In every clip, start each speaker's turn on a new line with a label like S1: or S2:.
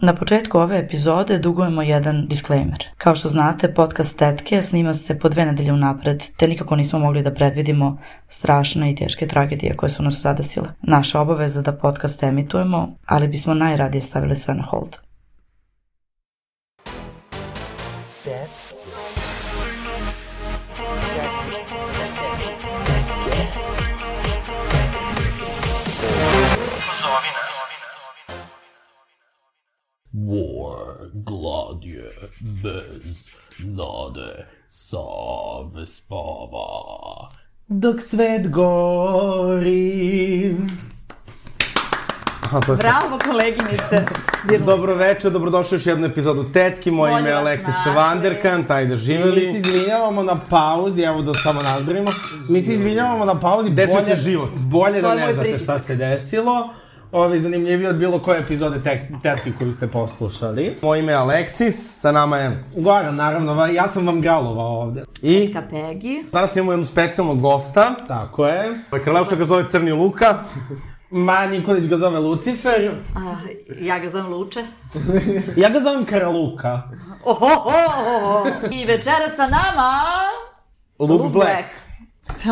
S1: Na početku ove epizode dugujemo jedan disclaimer. Kao što znate, podcast Tetke snima se po dve nedelje unapred, te nikako nismo mogli da predvidimo strašne i teške tragedije koje su nas zadesile. Naša obaveza da podcast emitujemo, ali bismo najradije stavili sve na hold.
S2: War gladje bez nade save spava. Dok svet gori.
S3: Bravo koleginice.
S2: Dobro večer, pa dobrodošli u još jednu epizodu Tetki. Moje ime je
S3: vas
S2: Aleksis
S3: našli.
S2: Vanderkant, ajde
S4: Mi se
S2: živeli.
S4: izvinjavamo na pauzi, evo da samo nazdravimo. Mi se izvinjavamo na pauzi.
S2: Desio
S4: bolje-
S2: se život.
S4: Bolje
S3: To
S4: da
S3: je moj
S4: ne znate
S3: pritisak.
S4: šta se desilo. Ovo je zanimljivije od bilo koje epizode tek, tetki koju ste poslušali.
S2: Moje ime je Aleksis, sa nama je
S4: Goran, naravno, va- ja sam vam galovao ovde.
S2: i...
S3: Kapegi.
S2: Danas imamo jednu specijalnog gosta.
S4: Tako je.
S2: Krlevša ga zove Crni Luka.
S4: Ma, Nikolić ga zove Lucifer.
S3: A, ja ga zovem Luče.
S4: Ja ga zovem Karaluka.
S3: Ohohoho! I večera sa nama...
S2: Luke, Black.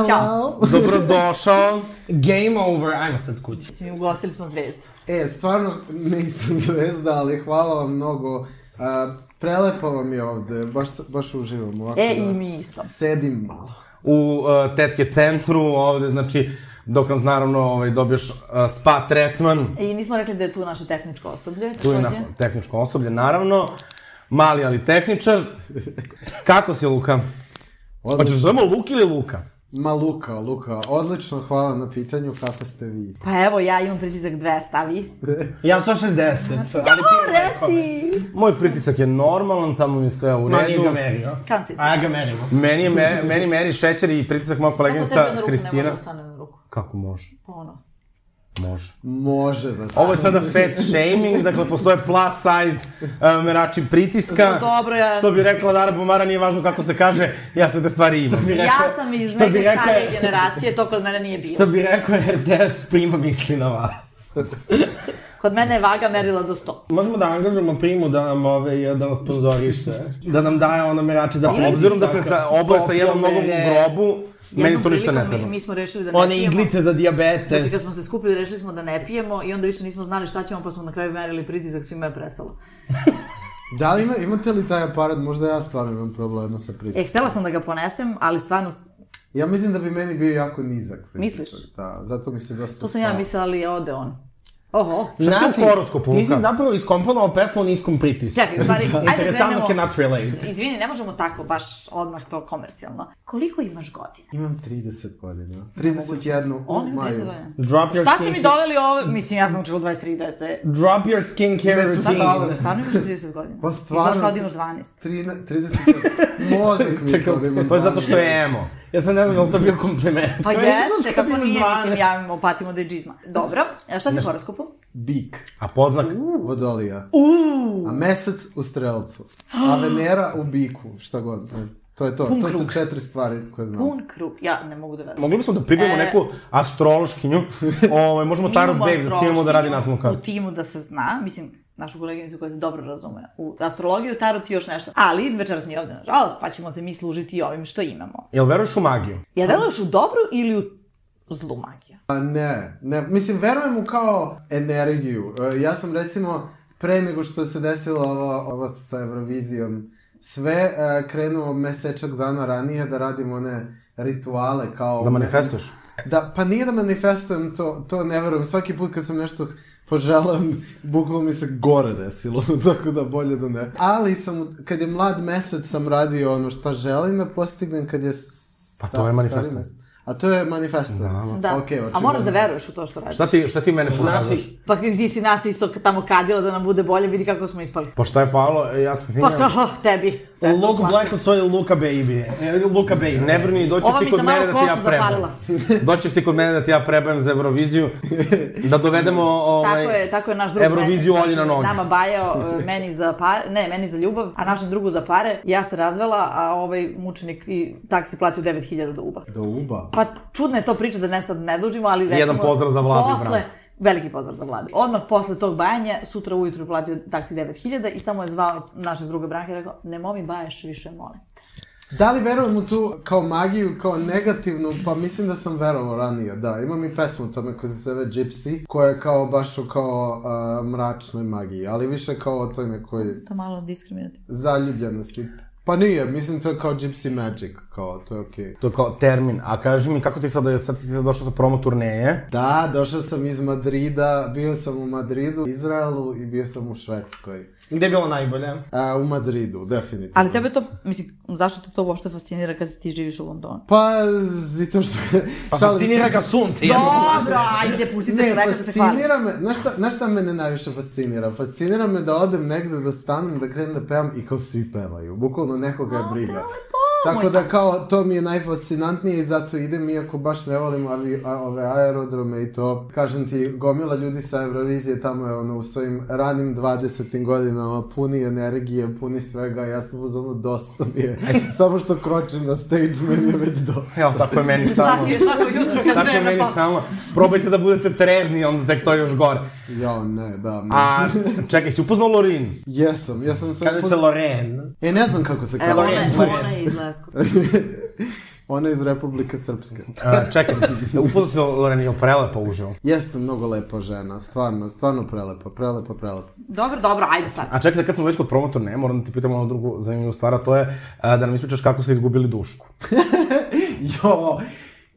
S3: Ćao.
S2: Dobrodošao.
S4: Game over, ajmo sad kući.
S3: Mislim, ugostili smo zvezdu.
S5: E, stvarno nisam zvezda, ali hvala vam mnogo. A, prelepo vam je ovde, baš, baš uživam ovako.
S3: E,
S5: da
S3: i mi isto.
S5: Sedim malo.
S2: u uh, tetke centru ovde, znači dok nam naravno ovaj, dobiješ uh, spa tretman,
S3: I nismo rekli da je tu naše tehničko osoblje.
S2: tu je na,
S3: takođe.
S2: tehničko osoblje naravno, mali ali tehničar. Kako si Luka? Hoćeš da zovemo Luka ili Luka?
S5: Ma Luka, Luka, odlično, hvala na pitanju, kako ste vi?
S3: Pa evo, ja imam pritisak 200, a vi?
S4: Ja 160.
S3: Znači,
S4: ali ti
S3: O, reci!
S2: Moj pritisak je normalan, samo mi je sve u
S4: Ma, nije
S2: redu.
S4: ga merio.
S3: Kam si
S4: A ja ga
S3: danas?
S4: merimo.
S2: Meni je me, meni meri šećer i pritisak moja
S3: Kako tebe
S2: koleginica
S3: na ruku ne može
S2: Hristina.
S3: da stane na ruku?
S2: Kako može?
S3: Pa ono.
S2: Može.
S5: Može da se...
S2: Ovo je sada fat shaming, dakle postoje plus size uh, merači pritiska.
S3: No, Pa dobro, ja-
S2: Da. Što bi rekla Dara Bumara, nije važno kako se kaže, ja sve te stvari imam.
S3: Ja sam iz
S4: što bi
S3: neke
S4: rekao-
S3: starije generacije, to kod mene nije bilo.
S4: Što bi rekao RTS, prima misli na vas.
S3: Kod mene je vaga merila do 100.
S4: Možemo da angažujemo primu da nam ove, da nas pozorište, da nam daje ono merače za popis.
S2: Obzirom da sam sa oboje sa jednom nogom u
S4: Kopljomere,
S2: grobu, meni to ništa ne
S3: Jednom prilikom
S2: treba.
S3: Mi, mi smo rešili da ne
S4: One
S3: pijemo.
S4: iglice za diabetes.
S3: Znači kad smo se skupili, rešili smo da ne pijemo i onda više nismo znali šta ćemo, pa smo na kraju merili pritisak, svima je prestalo.
S5: Da li ima, imate li taj aparat? Možda ja stvarno imam problema sa
S3: E,
S5: pritiskom.
S3: htjela sam da ga ponesem, ali stvarno,
S5: Ja mislim da bi meni bio jako nizak pritisak.
S3: Misliš?
S5: Da, zato mi se dosta
S3: to sam ja
S5: spava.
S3: mislila, ali ode on. Oho.
S2: Šta je u horoskopu,
S4: Znači, ti si
S2: Luka?
S4: zapravo iskomponovao pesmu o niskom pritisku.
S3: Čekaj, u stvari, ajde
S4: Interesantno
S3: krenemo.
S4: cannot relate.
S3: Izvini, ne možemo tako baš odmah to komercijalno. Koliko imaš godina?
S5: Imam 30 godina. 31
S3: On
S5: u
S3: ima 30
S5: maju.
S3: godina.
S4: Drop your
S3: Šta ste
S4: skin
S3: mi doveli ovo? Mislim, ja sam učila 23, 20.
S4: Drop your skincare
S5: Ne, to
S4: routine.
S5: stalo.
S3: Da stvarno imaš 30 godina?
S5: Pa
S3: I znaš
S5: stvarno.
S3: kao da imaš 12.
S5: Trina- 30 mozak mi je kao da imam
S2: To je zato
S5: 12.
S2: što je emo.
S4: Ja sam ne znam da li to bio kompliment.
S3: Pa
S4: Ja ne znam
S3: jeste,
S4: šta
S3: kako
S4: ti imaš
S3: nije, mislim,
S4: 12.
S3: ja opatimo da je džizma. Dobro, a šta si u horoskopu?
S5: Bik.
S2: A podznak?
S5: Vodolija. Uuu. A mesec u strelcu. A Venera u biku. Šta god. Ne znam. To je to. to su četiri stvari koje znam.
S3: Pun krug, ja ne mogu da verujem.
S2: Mogli bismo da pribijemo
S3: E.
S2: neku astrološkinju, ovaj, možemo Tarot Beg da ciljamo da radi nakon
S3: astrološkinju
S2: kada.
S3: U timu da se zna, mislim, našu koleginicu koja se dobro razume u astrologiju, tarot i još nešto. Ali večeras nije ovde, nažalost, pa ćemo se mi služiti i ovim što imamo.
S2: Jel veruješ u magiju?
S3: Ja veruješ u dobru ili u zlu magiju?
S5: Pa ne. ne. Mislim, verujem u kao energiju. E, Ja sam recimo, pre nego što se desilo ovo, ovo sa Eurovizijom, sve e, krenuo mesečak dana ranije da radim one rituale kao...
S2: Da
S5: ne-
S2: manifestuješ?
S5: Da, pa nije da manifestujem to, to ne verujem. Svaki put kad sam nešto poželao, bukvalo mi se gore desilo, tako da bolje da ne. Ali sam, kad je mlad mesec sam radio ono šta želim da postignem kad je... s-
S2: Pa to je
S5: sta-
S2: manifestan.
S5: stari mesec. A to je manifestan.
S3: Da,
S5: Okej,
S3: a moraš da
S5: očigledno.
S3: veruješ u to što radiš.
S2: Šta ti, šta ti mene pokazaš?
S4: Znači,
S3: Pa ti si nas isto tamo kadila da nam bude bolje, vidi kako smo ispali.
S2: Pa šta je falo? E, Ja sam
S3: Pa
S2: sinjao.
S3: to, tebi, sestra
S4: Luke
S3: slatka.
S4: Black usvoji Luka Baby. E, Luka Baby.
S2: Ne brini, doćeš
S3: Ova
S2: ti
S3: mi
S2: kod
S3: za malo
S2: mene da ti ja
S3: kosu
S2: prebajem.
S3: zapalila.
S2: Doćeš ti kod mene da ti ja prebajem za Euroviziju, da dovedemo ovaj...
S3: Tako je, tako je naš drug.
S2: Euroviziju
S3: mene.
S2: Olji na noge.
S3: Nama bajao e, meni za pare, ne, meni za ljubav, a našem drugu za pare. Ja se razvela, a ovaj mučenik i taksi platio 9000 do uba.
S5: Do uba.
S3: Pa čudna je to priča da ne sad ne dužimo, ali recimo...
S2: Jedan pozdrav za Vladu i
S3: Posle,
S2: Branku.
S3: Veliki pozdrav za vladu. Odmah posle tog bajanja, sutra ujutru je platio taksi 9000 i samo je zvao našeg druga Branka i rekao, nemoj mi baješ više, molim. te."
S5: Da li verujem u tu kao magiju, kao negativnu, pa mislim da sam verovao ranije, da. Imam i pesmu o tome koja se zove Gypsy, koja je kao baš o kao a, mračnoj magiji, ali više kao o toj nekoj
S3: To je malo diskriminativno.
S5: zaljubljenosti. Pa nije, mislim to je kao Gypsy Magic, kao to je okej.
S2: To je kao termin. A kaži mi, kako ti sada, sad ti sad došao sa promo turneje?
S5: Da, došao sam iz Madrida, bio sam u Madridu, Izraelu i bio sam u Švedskoj.
S4: Gde je bilo najbolje?
S5: A, u Madridu, definitivno.
S3: Ali tebe to, mislim, zašto te to uopšte fascinira kad ti živiš u Londonu?
S5: Pa, zato što...
S4: Pa
S5: Šalim se.
S4: fascinira ga sunce.
S3: Dobro, ajde, pustite
S5: Ne,
S3: čoveka da se hvali.
S5: fascinira me, znaš šta, znaš šta mene najviše fascinira? Fascinira me da odem negde, da stanem, da krenem da pevam i kao svi pevaju. Bukvalno nekoga je briga. Tako da kao, to mi je najfascinantnije i zato idem, iako baš ne volim avi, a, ove aerodrome i to. Kažem ti, gomila ljudi sa Eurovizije tamo je ono u svojim ranim 20. godinama puni energije, puni svega, ja sam uz ono dosta mi je. Samo što kročim na stage, meni je već dosta.
S2: Evo, tako je meni stalno.
S3: Svaki, svako jutro kad
S2: Tako je
S3: krenem
S2: meni
S3: na posao.
S2: stalno. Probajte da budete trezni, onda tek to je još gore.
S5: Ja, ne, da. ne.
S2: A, čekaj, si upoznao Lorin?
S5: Jesam, jesam sam...
S4: Kaže se Loren.
S5: E, ne znam kako se
S3: Evo,
S5: kao.
S3: ona je,
S4: Lorenzo je.
S3: ona je iz Lesku.
S5: Ona je iz Republike Srpske.
S2: A, E, čekaj, upoznao si Lorin, je li prelepa uživo?
S5: Jeste mnogo lepa žena, stvarno, stvarno prelepa, prelepa, prelepa.
S3: Dobro, dobro, ajde sad.
S2: A čekaj, sad kad smo već kod promotor, ne, moram da ti pitam ono drugu zanimljivu stvar, a to je a, da nam ispričaš kako ste izgubili dušku.
S5: Jo,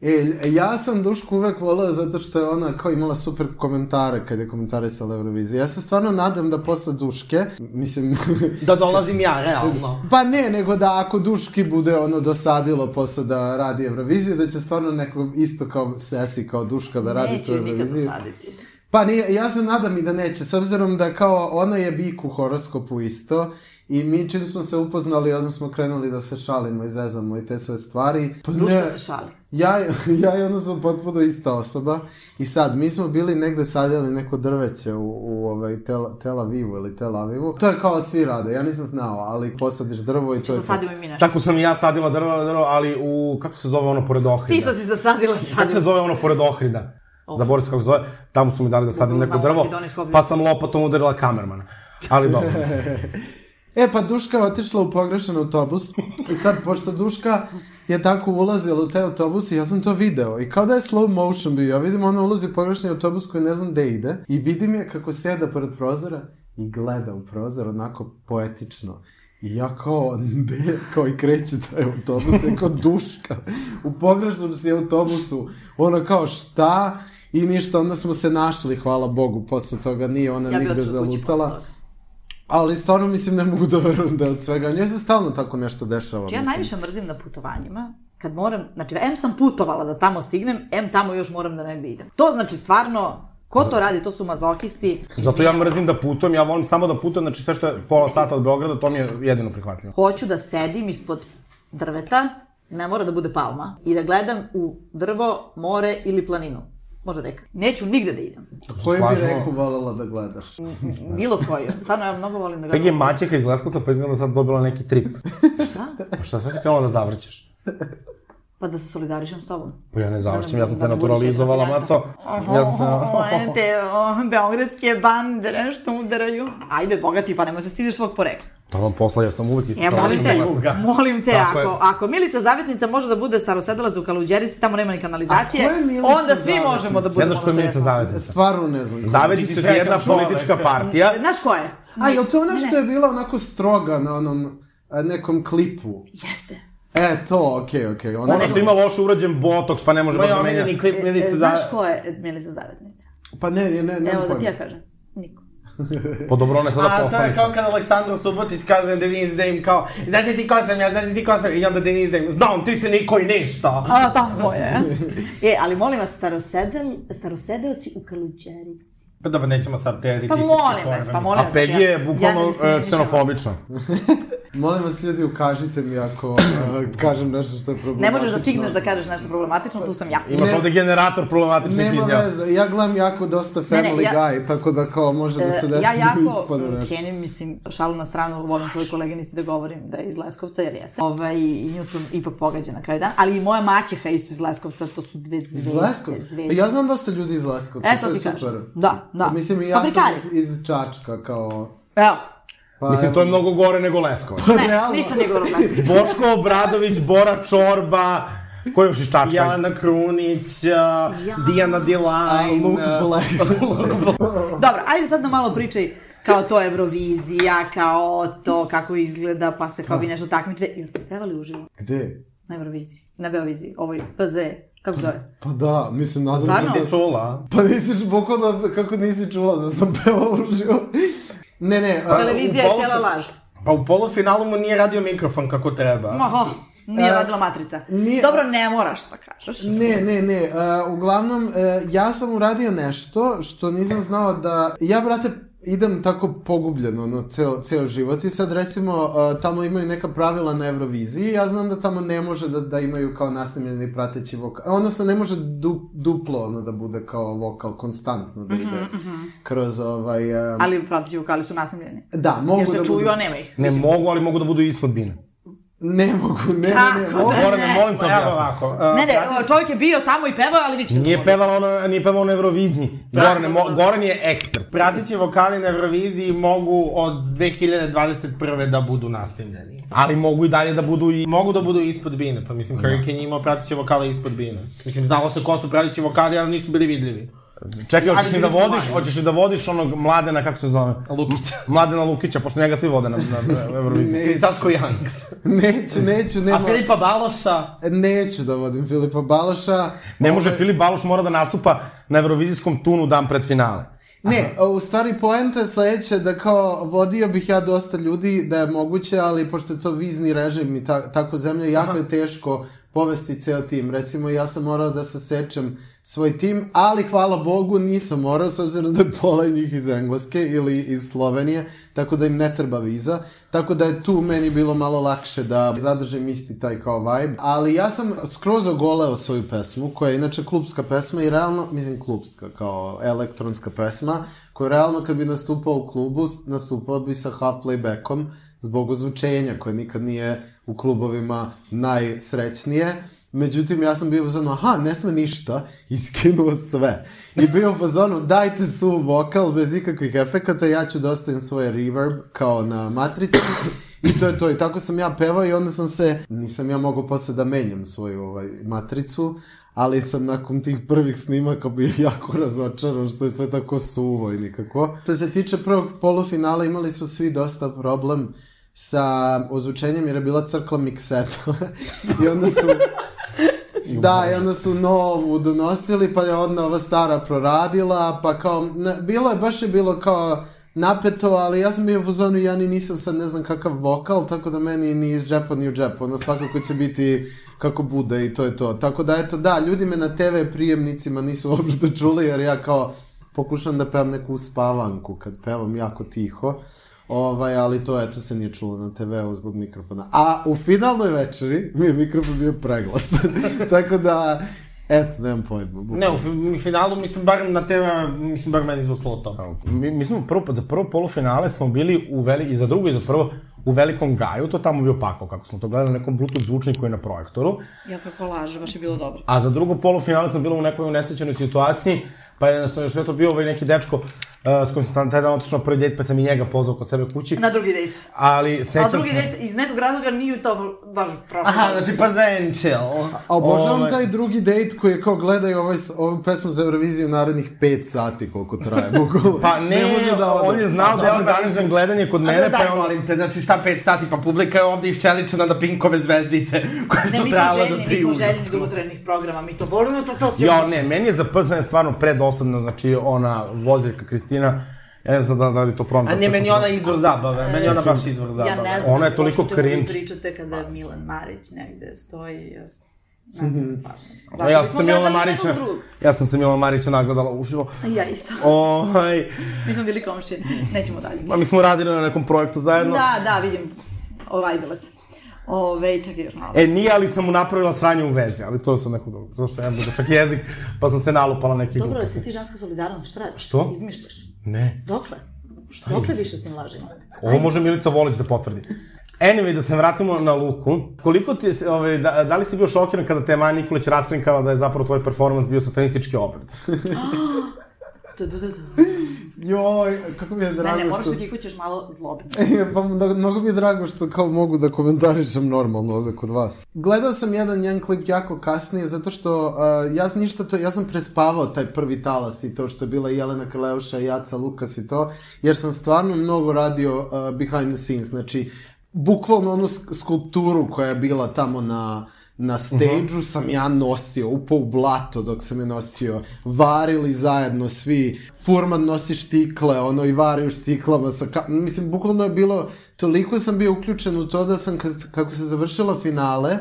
S5: E, ja sam Dušku uvek voleo zato što je ona kao imala super komentare kad je komentarisala Euroviziju. Ja se stvarno nadam da posle Duške, mislim,
S4: Da dolazim ja, realno.
S5: pa ne, nego da ako Duški bude ono dosadilo posle da radi Euroviziju, da će stvarno neko isto kao sesi, kao Duška da radi
S3: Neće
S5: tu
S3: ju nikad
S5: Euroviziju.
S3: dosaditi.
S5: Pa nije, ja se nadam i da neće, s obzirom da kao ona je bik u horoskopu isto i mi čim smo se upoznali, odmah smo krenuli da se šalimo i zezamo i te sve stvari. Pa
S3: Duška da se šali.
S5: Ja, ja i ona smo potpuno ista osoba i sad, mi smo bili negde sadjeli neko drveće u, u ovaj, Tel, Tel Avivu ili Tel Avivu. To je kao svi rade, ja nisam znao, ali posadiš drvo
S3: Znači,
S5: i to je to.
S3: Zasadimo i mi nešto.
S2: Tako sam i ja sadila drvo, drvo, ali u, kako se zove ono pored
S3: Ti
S2: Ohrida?
S3: što si zasadila,
S2: Kako se
S3: sadila.
S2: zove ono pored Ohrida? Zaboravim se kako se zove, tamo su mi dali da sadim
S3: Bukvalno
S2: neko
S3: na
S2: drvo,
S3: makedonijsku obljubu.
S2: pa sam lopatom udarila kamermana. Ali dobro.
S5: E, pa Duška je otišla u pogrešan autobus i sad, pošto Duška je tako ulazila u taj autobus i ja sam to video i kao da je slow motion bio, ja vidim ona ulazi u pogrešni autobus koji ne znam gde ide i vidim je kako sjeda pored prozora i gleda u prozor onako poetično. I ja kao, gde, kao i kreće taj autobus, ja kao duška, u pogrešnom si autobusu, ona kao šta, i ništa, onda smo se našli, hvala Bogu, posle toga nije ona
S3: Ja bi
S5: nigde
S3: otišla kući posle
S5: zalutala.
S3: toga.
S5: Ali stvarno mislim ne mogu da verujem da je od svega. Njoj se stalno tako nešto dešava.
S3: Znači, ja
S5: mislim.
S3: najviše mrzim na putovanjima, kad moram, znači, em sam putovala da tamo stignem, em tamo još moram da negde idem. To znači stvarno, ko to radi, to su mazohisti.
S2: Zato ja mrzim da putujem, ja volim samo da putujem, znači sve što je pola sata od Beograda, to mi je jedino prihvatljivo.
S3: Hoću da sedim ispod drveta, ne mora da bude palma, i da gledam u drvo, more ili planinu. Može reka. Neću nigde da idem.
S5: Koju bi
S2: Slažemo.
S5: reku voljela da gledaš?
S3: Bilo koju. Stvarno, ja mnogo volim da
S2: Peg je
S3: gledam.
S2: maćeha iz Leskovca, pa izgleda da sad dobila neki trip.
S3: Šta?
S2: Pa šta sad si krenula da zavrćeš?
S3: Pa da se solidarišem s tobom.
S2: Pa ja ne zavrćem, ja sam
S3: Da
S2: se
S3: ne budeš
S2: naturalizovala,
S3: jedna
S2: maco. Ja sam se...
S3: Ovo, te o, beogradske bande nešto udaraju. Ajde, bogati, pa nemoj se stidiš svog porekla.
S2: To vam posla, ja sam uvek isto.
S3: E, molim te, molim te,
S2: Tako je.
S3: ako, ako Milica Zavetnica može da bude starosedelac u Kaluđerici, tamo nema ni kanalizacije,
S5: A ko je Milica
S3: onda svi
S5: Zavetnica?
S3: možemo da budemo
S2: Sedaš koja je Milica Zavetnica.
S5: Stvarno ne znam.
S2: Zavetnica je jedna politička partija.
S3: Znaš ko je?
S5: A je to ona
S3: Ne,
S5: što je bila onako stroga na onom a, nekom klipu?
S3: Jeste.
S5: E, to, okej, okej. Ona
S2: Ona što ima loše urađen botoks, pa ne može baš
S4: Moj
S2: da menja.
S4: omiljeni klip
S3: E, e,
S4: Milice
S3: znaš
S4: Zave.
S3: ko je Milica Zavetnica?
S5: Pa ne, ne, ne, ne.
S3: Evo da ti ja kažem. Niko.
S2: Pa dobro, ona je
S4: A
S2: sada
S4: to je kao
S2: poslanica.
S4: kad Aleksandar Subotić kaže Denise Dame kao Znaš li ti ko sam ja, znaš li ti ko sam I onda Denise Dame, znam ti si niko i ništa
S3: A, tako je. e, ali molim vas, starosedel, starosedeoci u Kaluđerici.
S4: Pa dobro, nećemo sad te
S3: Pa
S4: rasističke
S3: molim vas,
S4: forme.
S3: pa molim
S2: A
S3: vas.
S2: Peggy
S3: znači, ja-
S2: je
S3: ja ne
S2: bukvalno e,
S3: diskriminišem.
S2: ksenofobična.
S5: Molim vas ljudi, ukažite mi ako eh, kažem nešto što je
S3: Ne
S5: problematično.
S3: možeš da stigneš da kažeš nešto problematično, tu sam ja.
S2: Imaš
S5: Ne.
S2: ovde generator problematičnih
S5: Nema
S2: izjava.
S5: veze, ja gledam jako dosta
S3: Ne, ne,
S5: Family
S3: ja-
S5: Guy, tako da kao može da se
S3: E,
S5: desi
S3: ja
S5: da
S3: jako
S5: ispada
S3: mm,
S5: nešto.
S3: cijenim, mislim, šalu na stranu, volim svoju koleginici da govorim da je iz Leskovca, jer jeste. Ovaj, i nju tu ipak pogađa na kraju dana, ali i moja maćeha je isto iz Leskovca, to su dve zvezde.
S5: Iz Leskovca? Pa
S3: zvezde.
S5: Ja znam dosta ljudi iz Leskovca,
S3: E, to
S5: to je
S3: ti kažem.
S5: super. Pa
S3: Da, da.
S5: Mislim, i ja sam
S3: Fabrikari.
S5: iz, iz Čačka, kao...
S3: Evo,
S5: Pa,
S2: Mislim,
S5: evo,
S2: to je mnogo gore nego Leskovac.
S5: pa
S3: ne,
S5: realno.
S3: ništa nije govorim Leskovca.
S2: Boško Obradović, Bora Čorba, ko je još iz Čačka?
S4: Jelena Krunić, ja. Dijana
S5: A,
S4: Dilajn.
S5: Luke
S4: eh,
S5: Black.
S3: Dobro, ajde sad nam malo pričaj kao to Eurovizija, kao to kako izgleda, pa se kao
S5: Da.
S3: vi nešto takmičite. Jel ste pevali uživo
S5: Gde?
S3: na Euroviziji? Na Beoviziji, ovoj PZ, kako se zove?
S5: Pa da, mislim, nadam se
S3: Stvarno?
S5: da...
S2: Jesi čula?
S5: Pa nisi, bukvalno, kako nisi čula da sam pevao uživo. Ne, ne,
S2: Pa
S5: a,
S3: Televizija je
S4: upravo
S3: cijela
S4: sam-
S3: laž.
S4: Pa u polufinalu mu nije radio mikrofon kako treba.
S3: Oho, nije
S5: E,
S3: radila matrica.
S5: nije-
S3: Dobro, ne moraš da kažeš.
S5: Ne, ne, ne, uh, uglavnom, uh, ja sam uradio nešto što nisam znao da, ja brate idem tako pogubljeno na ceo, ceo život i sad recimo uh, tamo imaju neka pravila na Euroviziji, ja znam da tamo ne može da, da imaju kao nasnimljeni prateći vokal, odnosno ne može du, duplo ono da bude kao vokal konstantno da ide kroz ovaj... um,
S3: Mhm, Ali pratići vokali su nasmljeni.
S5: Da, mogu
S3: Jer se
S5: da
S3: čuju,
S5: budu...
S3: a nema ih.
S2: Ne mogu, ali mogu da budu ispod bine.
S5: Ne mogu, ne, ne, ne,
S3: Kako
S5: mogu.
S3: da
S2: Bora, ne
S3: ne?
S2: molim te
S4: Pa evo
S2: objasni.
S4: ovako. eh,
S3: Ne, ne,
S4: Dragan-
S3: o, čovjek je bio tamo i pevao, ali vi ćete
S2: Nije pevala ona, nije pevala na Euroviziji. Goran, je mo- Goran je ekspert.
S4: Pratići vokali na Euroviziji mogu od 2021. da budu nastavljeni.
S2: Ali mogu i dalje da budu i...
S4: Mogu da budu ispod bine, pa mislim
S2: Da.
S4: Hurricane je imao pratiće vokale ispod bine. Mislim, znalo se ko su pratići vokali, ali nisu bili vidljivi.
S2: Čekaj, hoćeš li
S4: bili
S2: da
S4: su
S2: vodiš,
S4: mladi.
S2: hoćeš li da vodiš onog mladena, kako se zove?
S4: Lukića.
S2: Mladena Lukića, pošto njega svi vode na, na Euroviziji.
S4: I Sasko Youngs.
S5: Neću, neću,
S4: A
S5: nema...
S4: Filipa Baloša?
S5: Neću da vodim Filipa Baloša.
S2: Ne može, Filip Baluš mora da nastupa na Eurovizijskom tunu dan pred finale.
S5: Ne, u stvari poenta je sledeća da kao vodio bih ja dosta ljudi da je moguće, ali pošto je to vizni režim i ta, tako zemlja, jako je teško povesti ceo tim. Recimo ja sam morao da sasečem svoj tim, ali hvala Bogu nisam morao s obzirom da je pola njih iz Engleske ili iz Slovenije, tako da im ne treba viza. Tako da je tu meni bilo malo lakše da zadržim isti taj kao vibe. Ali ja sam skroz ogoleo svoju pesmu, koja je inače klubska pesma i realno, mislim klubska, kao elektronska pesma, koja realno kad bi nastupao u klubu, s- nastupao bi sa half playbackom zbog ozvučenja, koje nikad nije u klubovima najsrećnije. Međutim, ja sam bio u fazonu, aha, ne sme ništa, i skinuo sve. I bio u fazonu, dajte su vokal bez ikakvih efekata, ja ću da ostavim svoj reverb kao na matrici. I to je to, i tako sam ja pevao i onda sam se, nisam ja mogao posle da menjam svoju ovaj, matricu, ali sam nakon tih prvih snimaka bio jako razočaran što je sve tako suvo i nikako. Što se tiče prvog polufinala imali su svi dosta problem sa ozvučenjem jer je bila crkla mikseta i onda su da, i onda su novu donosili, pa je onda ova stara proradila, pa kao, ne, bilo je, baš je bilo kao napeto, ali ja sam bio u zonu, ja ni nisam sad ne znam kakav vokal, tako da meni ni iz džepa ni u džepu, ono svakako će biti kako bude i to je to. Tako da, eto, da, ljudi me na TV prijemnicima nisu uopšte čuli, jer ja kao pokušam da pevam neku spavanku kad pevam jako tiho. Ovaj, ali to eto se nije čulo na TV-u zbog mikrofona. A u finalnoj večeri mi je mikrofon bio preglasan. Tako da, eto, nemam pojma.
S4: Ne, u fi- finalu, mislim, bar na TV, mislim, bar meni zvučilo to.
S2: Mi, mi smo prvo, za prvo polufinale smo bili u veli, i za drugo i za prvo u velikom gaju, to tamo bio pakao, kako smo to gledali na nekom bluetooth zvučniku i na projektoru.
S3: Ja kako laže, baš je bilo dobro.
S2: A za drugo polufinale sam bila u nekoj unesrećenoj situaciji, pa je jednostavno još sve to bio ovaj neki dečko uh, s kojim sam tam- taj dan otišao na prvi dejt, pa sam i njega pozvao kod sebe kući.
S3: Na drugi dejt.
S2: Ali
S3: Da. A
S2: sećam
S3: drugi
S2: se...
S3: dejt iz nekog razloga nije to baš prošlo.
S4: Aha, znači, pa za and chill.
S5: A obožavam
S2: Ovaj-
S5: taj drugi dejt koji je kao gledaju ovaj, s- ovu pesmu za Euroviziju narednih 5 sati koliko traje. bukvalno.
S2: Pa ne,
S5: može da ode.
S2: on je znao da ja organizujem gledanje kod
S4: Mene,
S3: da,
S2: mene, pa
S4: daj,
S2: je on...
S4: molim te, znači šta 5 sati, pa publika je ovde iščeličena na pinkove zvezdice koje
S3: Ne,
S4: su
S3: mi smo
S4: trajala do
S3: željni, mi
S4: 3
S3: smo
S4: ujutru.
S3: željni dugotrenih programa, mi to volimo, to to
S2: Ja, ne, meni je za PZN stvarno predosadno, znači ona voditeljka Kristina, ja ne znam da, da li to prometa.
S4: A ne, meni je ona izvor zabave, meni je ona baš izvor zabave.
S3: Znači, Ja ne znam
S2: Ona je toliko
S3: o čemu vi
S2: cringe.
S3: pričate kada Milan Marić negde stoji, ja sam- ne znam stvarno.
S2: A
S3: Zašto
S2: ja sam
S3: bismo
S2: se Milana
S3: gledali
S2: Marića,
S3: nekog drugog?
S2: ja sam se Milana Marića nagledala uživo.
S3: Ja isto.
S2: Ovaj, pa
S3: Mi smo bili komšije, nećemo dalje.
S2: ma mi smo radili na nekom projektu zajedno.
S3: Da, da, vidim. ovajdila se. Ove, Ovaj, čekaj još malo.
S2: E, nije, ali sam mu napravila sranje u vezi, ali to sam neko drugo, to što ja budu čak jezik, pa sam se nalupala neki
S3: Dobro,
S2: gluposti.
S3: jesi ti ženska solidarnost, šta radiš?
S2: Što?
S3: Izmišljaš.
S2: Ne,
S3: Dokle? Šta Dokle više s tim lažima?
S2: ovo može Milica Volić da potvrdi. Anyway, da se vratimo na Luku. Koliko ti, je- ovaj, da, da li si bio šokiran kada te je Maja Nikolić raskrinkala da je zapravo tvoj performans bio satanistički obred?
S3: Da, da, da, da.
S5: Joj, kako mi je drago
S3: Ne, ne, moraš
S5: što...
S3: da kikućeš malo zlobno.
S5: E, pa mno- mnogo mi je drago što kao mogu da komentarišem normalno ovde kod vas. Gledao sam jedan njen klip jako kasnije zato što uh, ja ništa to, ja sam prespavao taj prvi talas i to što je bila i Jelena Kaleuša i Jaca Lukas i to, jer sam stvarno mnogo radio uh, behind the scenes, znači bukvalno onu sk- skulpturu koja je bila tamo na na stage-u sam ja nosio, upao u blato dok sam je nosio, varili zajedno svi, furman nosi štikle, ono i vari u štiklama, sa ka... mislim, bukvalno je bilo, toliko sam bio uključen u to da sam, kad, kako se završilo finale,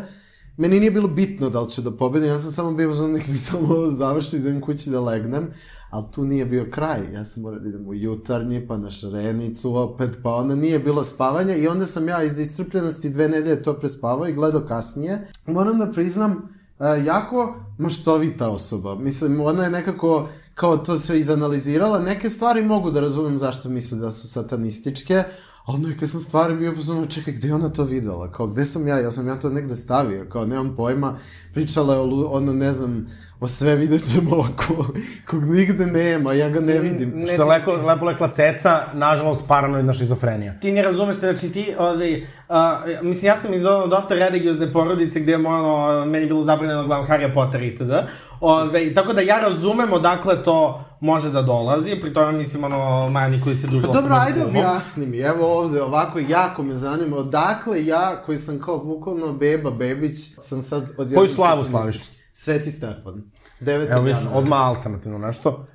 S5: meni nije bilo bitno da li ću da pobedim, ja sam samo bio uzman neki samo ovo završi, idem kući da legnem, ali tu nije bio kraj, ja sam morao da idem u jutarnji, pa na šarenicu opet, pa onda nije bilo spavanja i onda sam ja iz iscrpljenosti dve nedelje to prespavao i gledao kasnije. Moram da priznam, e, jako maštovita osoba. Mislim, ona je nekako kao to sve izanalizirala. Neke stvari mogu da razumem zašto misle da su satanističke, ali neke sam stvari bio pozvano, čekaj, gde je ona to videla? Kao, gde sam ja? Ja sam ja to negde stavio, kao, nemam pojma. Pričala je o, lu- ono, ne znam, o sve vidjet ćemo oko, kog nigde nema, ja ga ne vidim.
S4: Ne,
S2: Što je lepo, lepo lekla ceca, nažalost paranoidna šizofrenija.
S4: Ti ne razumeš, znači ti, ovaj, a, mislim, ja sam iz ono dosta religiozne porodice gde je ono, meni je bilo zabranjeno da gledam Harry Potter i tada. Ove, tako da ja razumem odakle to može da dolazi, pri tome mislim, ono, Maja Nikolić se
S5: Pa
S4: družila
S5: dobro,
S4: mojim
S5: ajde
S4: kumom.
S5: objasni mi, evo ovde, ovako jako me zanima, odakle ja, koji sam kao bukvalno beba, bebić, sam sad odjedno...
S2: Koju slavu
S5: satanistički?
S2: slaviš?
S5: Sveti Stefan. 9.
S2: Evo vidiš,
S5: januar.
S2: odmah alternativno nešto.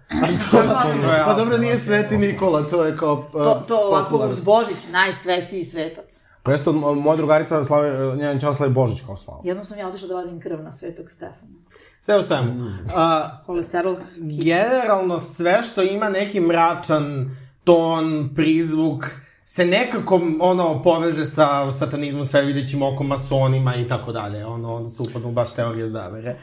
S5: Pa dobro, nije Sveti Nikola, to je kao... eh,
S3: To, to ovako uz Božić, najsvetiji svetac.
S2: Presto, Pa moja drugarica slave, njen čao slavi Božić kao slavu.
S3: Jednom sam ja otišla da vadim krv na svetog Stefana.
S4: Sve u svemu.
S5: Mm.
S4: A,
S3: Kolesterol.
S4: generalno sve što ima neki mračan ton, prizvuk, se nekako ono poveže sa satanizmom, sve videćim oko masonima i tako dalje. Ono, onda su upadnu baš teorije zavere.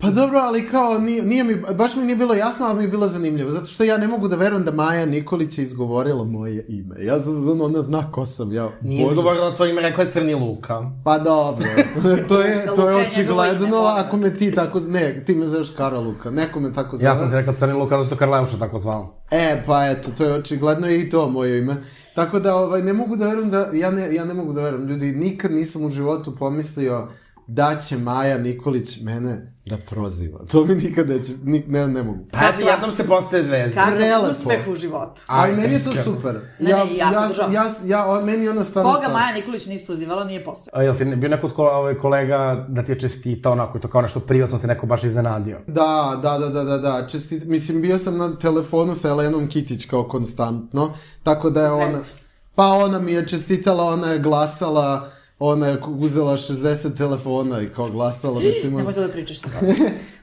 S5: Pa dobro, ali kao, nije, nije mi, baš mi nije bilo jasno, ali mi je bilo zanimljivo, zato što ja ne mogu da verujem da Maja Nikolić je izgovorila moje ime. Ja sam, znam, ona zna ko sam, ja...
S4: Nije
S5: Bože.
S4: izgovorila to ime, rekla je Crni Luka.
S5: Pa dobro, to je, to
S3: Luka je njegovo
S5: je
S3: ime, molim
S5: očigledno,
S3: vas.
S5: ako me ti tako, ne, ti me zoveš Kara Luka, neko me tako zove.
S2: Ja sam ti rekao Crni Luka, zato Karleuša tako zvala.
S5: E, pa eto, to je očigledno i to moje ime. Tako da, ovaj, ne mogu da verujem da, ja ne, ja ne mogu da verujem, ljudi, nikad nisam u životu pomislio da će Maja Nikolić mene da proziva. To mi nikad neće, ni, ne, ne mogu.
S4: Pa eto, jednom se postaje zvezda.
S3: Kakav
S5: prelepo.
S3: uspeh u životu.
S5: Ali
S2: Ajde,
S5: meni je to
S2: iskreno.
S5: super.
S3: Ne,
S5: ja,
S3: ne, ja
S5: ja, ja,
S3: podržavam.
S5: ja, on- meni je ona stvarno
S3: Koga
S5: car.
S3: Maja Nikolić nije isprozivala, nije postao.
S2: A, jel ti ne- bio neko od kola, ovaj, kolega da ti je čestitao onako i to kao nešto privatno te neko baš iznenadio?
S5: Da, da, da, da, da, da. Čestit, mislim, bio sam na telefonu sa Elenom Kitić kao konstantno, tako da je ona...
S3: Zvezda.
S5: Pa ona mi je čestitala, ona je glasala, ona je uzela 60 telefona i kao glasala, mislim...
S3: Nemoj
S5: on-
S3: to da pričaš tako.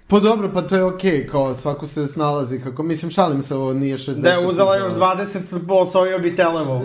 S5: Pa dobro, pa to je okej, kao svako se snalazi, kako... Mislim, šalim se, ovo nije 60...
S4: Da je uzela još
S5: uzela.
S4: 20, osvojio bi televo.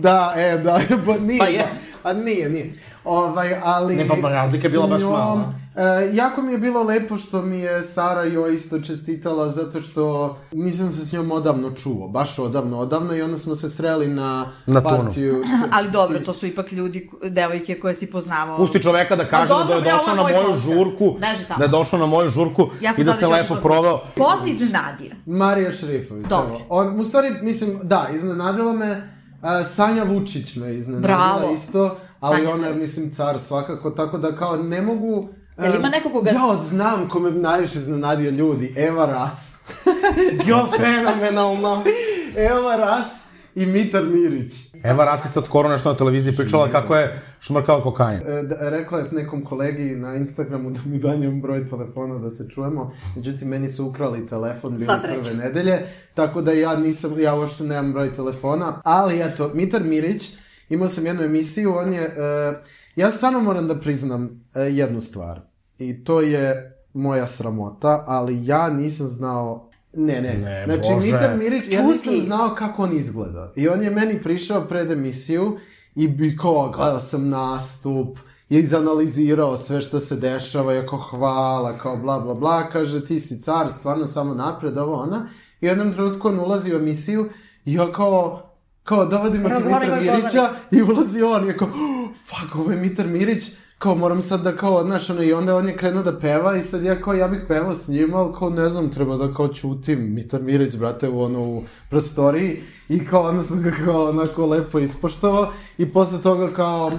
S5: da, e, da, pa nije.
S4: Pa je.
S5: Pa nije, nije. Ovaj, ali...
S4: Ne, pa, pa razlika je bila
S5: s
S4: baš
S5: njom,
S4: mala.
S5: E, jako mi je bilo lepo što mi je Sara joj isto čestitala zato što nisam se s njom odavno čuo, baš odavno, odavno i onda smo se sreli na,
S2: Na tunu.
S5: partiju.
S3: Ali dobro, to su ipak ljudi, devojke koje si poznavao.
S2: Pusti čoveka da kaže
S3: Pa dobro,
S2: da je
S3: bre, ovo
S2: došao
S3: je
S2: na
S3: moj
S2: moju
S3: podcast.
S2: žurku,
S3: Beži tamo.
S2: da je došao na moju žurku
S3: Ja sam
S2: i da
S3: tada
S2: se
S3: ću
S2: lepo
S3: otišla-
S2: proveo.
S3: Pot iznenadio.
S5: Marija Šrifović.
S3: Dobro.
S5: evo. On, u stvari, mislim, da, iznenadila me, e, Sanja Vučić me iznenadila
S3: Bravo.
S5: isto, ali
S3: Sanja
S5: ona je,
S3: zvezda.
S5: mislim, car svakako, tako da kao ne mogu...
S3: Jel
S5: e,
S3: ima neko koga-
S5: Jao, znam ko me najviše iznenadio ljudi, Eva Ras.
S4: Jo, fenomenalno.
S5: Eva Ras i Mitar Mirić.
S2: Eva Rasist od skoro nešto na televiziji pričala kako je šmrkao kokain.
S5: E, da, rekla je s nekom kolegi na Instagramu da mi da njem broj telefona da se čujemo, međutim meni su ukrali telefon
S3: Sva
S5: bili
S3: sreća.
S5: prve nedelje, tako da ja nisam, ja uopšte nemam broj telefona, ali eto, Mitar Mirić, imao sam jednu emisiju, on je, e, ja stvarno moram da priznam e, jednu stvar, i to je moja sramota, ali ja nisam znao Ne, ne,
S2: Ne,
S5: Znači,
S2: Bože.
S5: Mitar Mirić, ja
S3: Čudi.
S5: nisam znao kako on izgleda. I on je meni prišao pred emisiju i bi kao, gledao sam nastup, je izanalizirao sve što se dešava, jako hvala, kao bla bla bla, kaže ti si car, stvarno samo napred, ovo ona. I u jednom trenutku on ulazi u emisiju i ja kao, kao dovodimo
S3: Evo,
S5: ti
S3: govorim,
S5: Mitra
S3: govorim.
S5: Mirića i ulazi on i je kao, "Oh, fuck, ovo je Mitar Mirić, kao moram sad da kao, znaš, ono, i onda on je krenuo da peva i sad ja kao, ja bih pevao s njima, ali kao, ne znam, treba da kao čutim Mitar Mirić, brate, u ono, u prostoriji i kao, onda sam ga kao, onako, lepo ispoštovao i posle toga kao,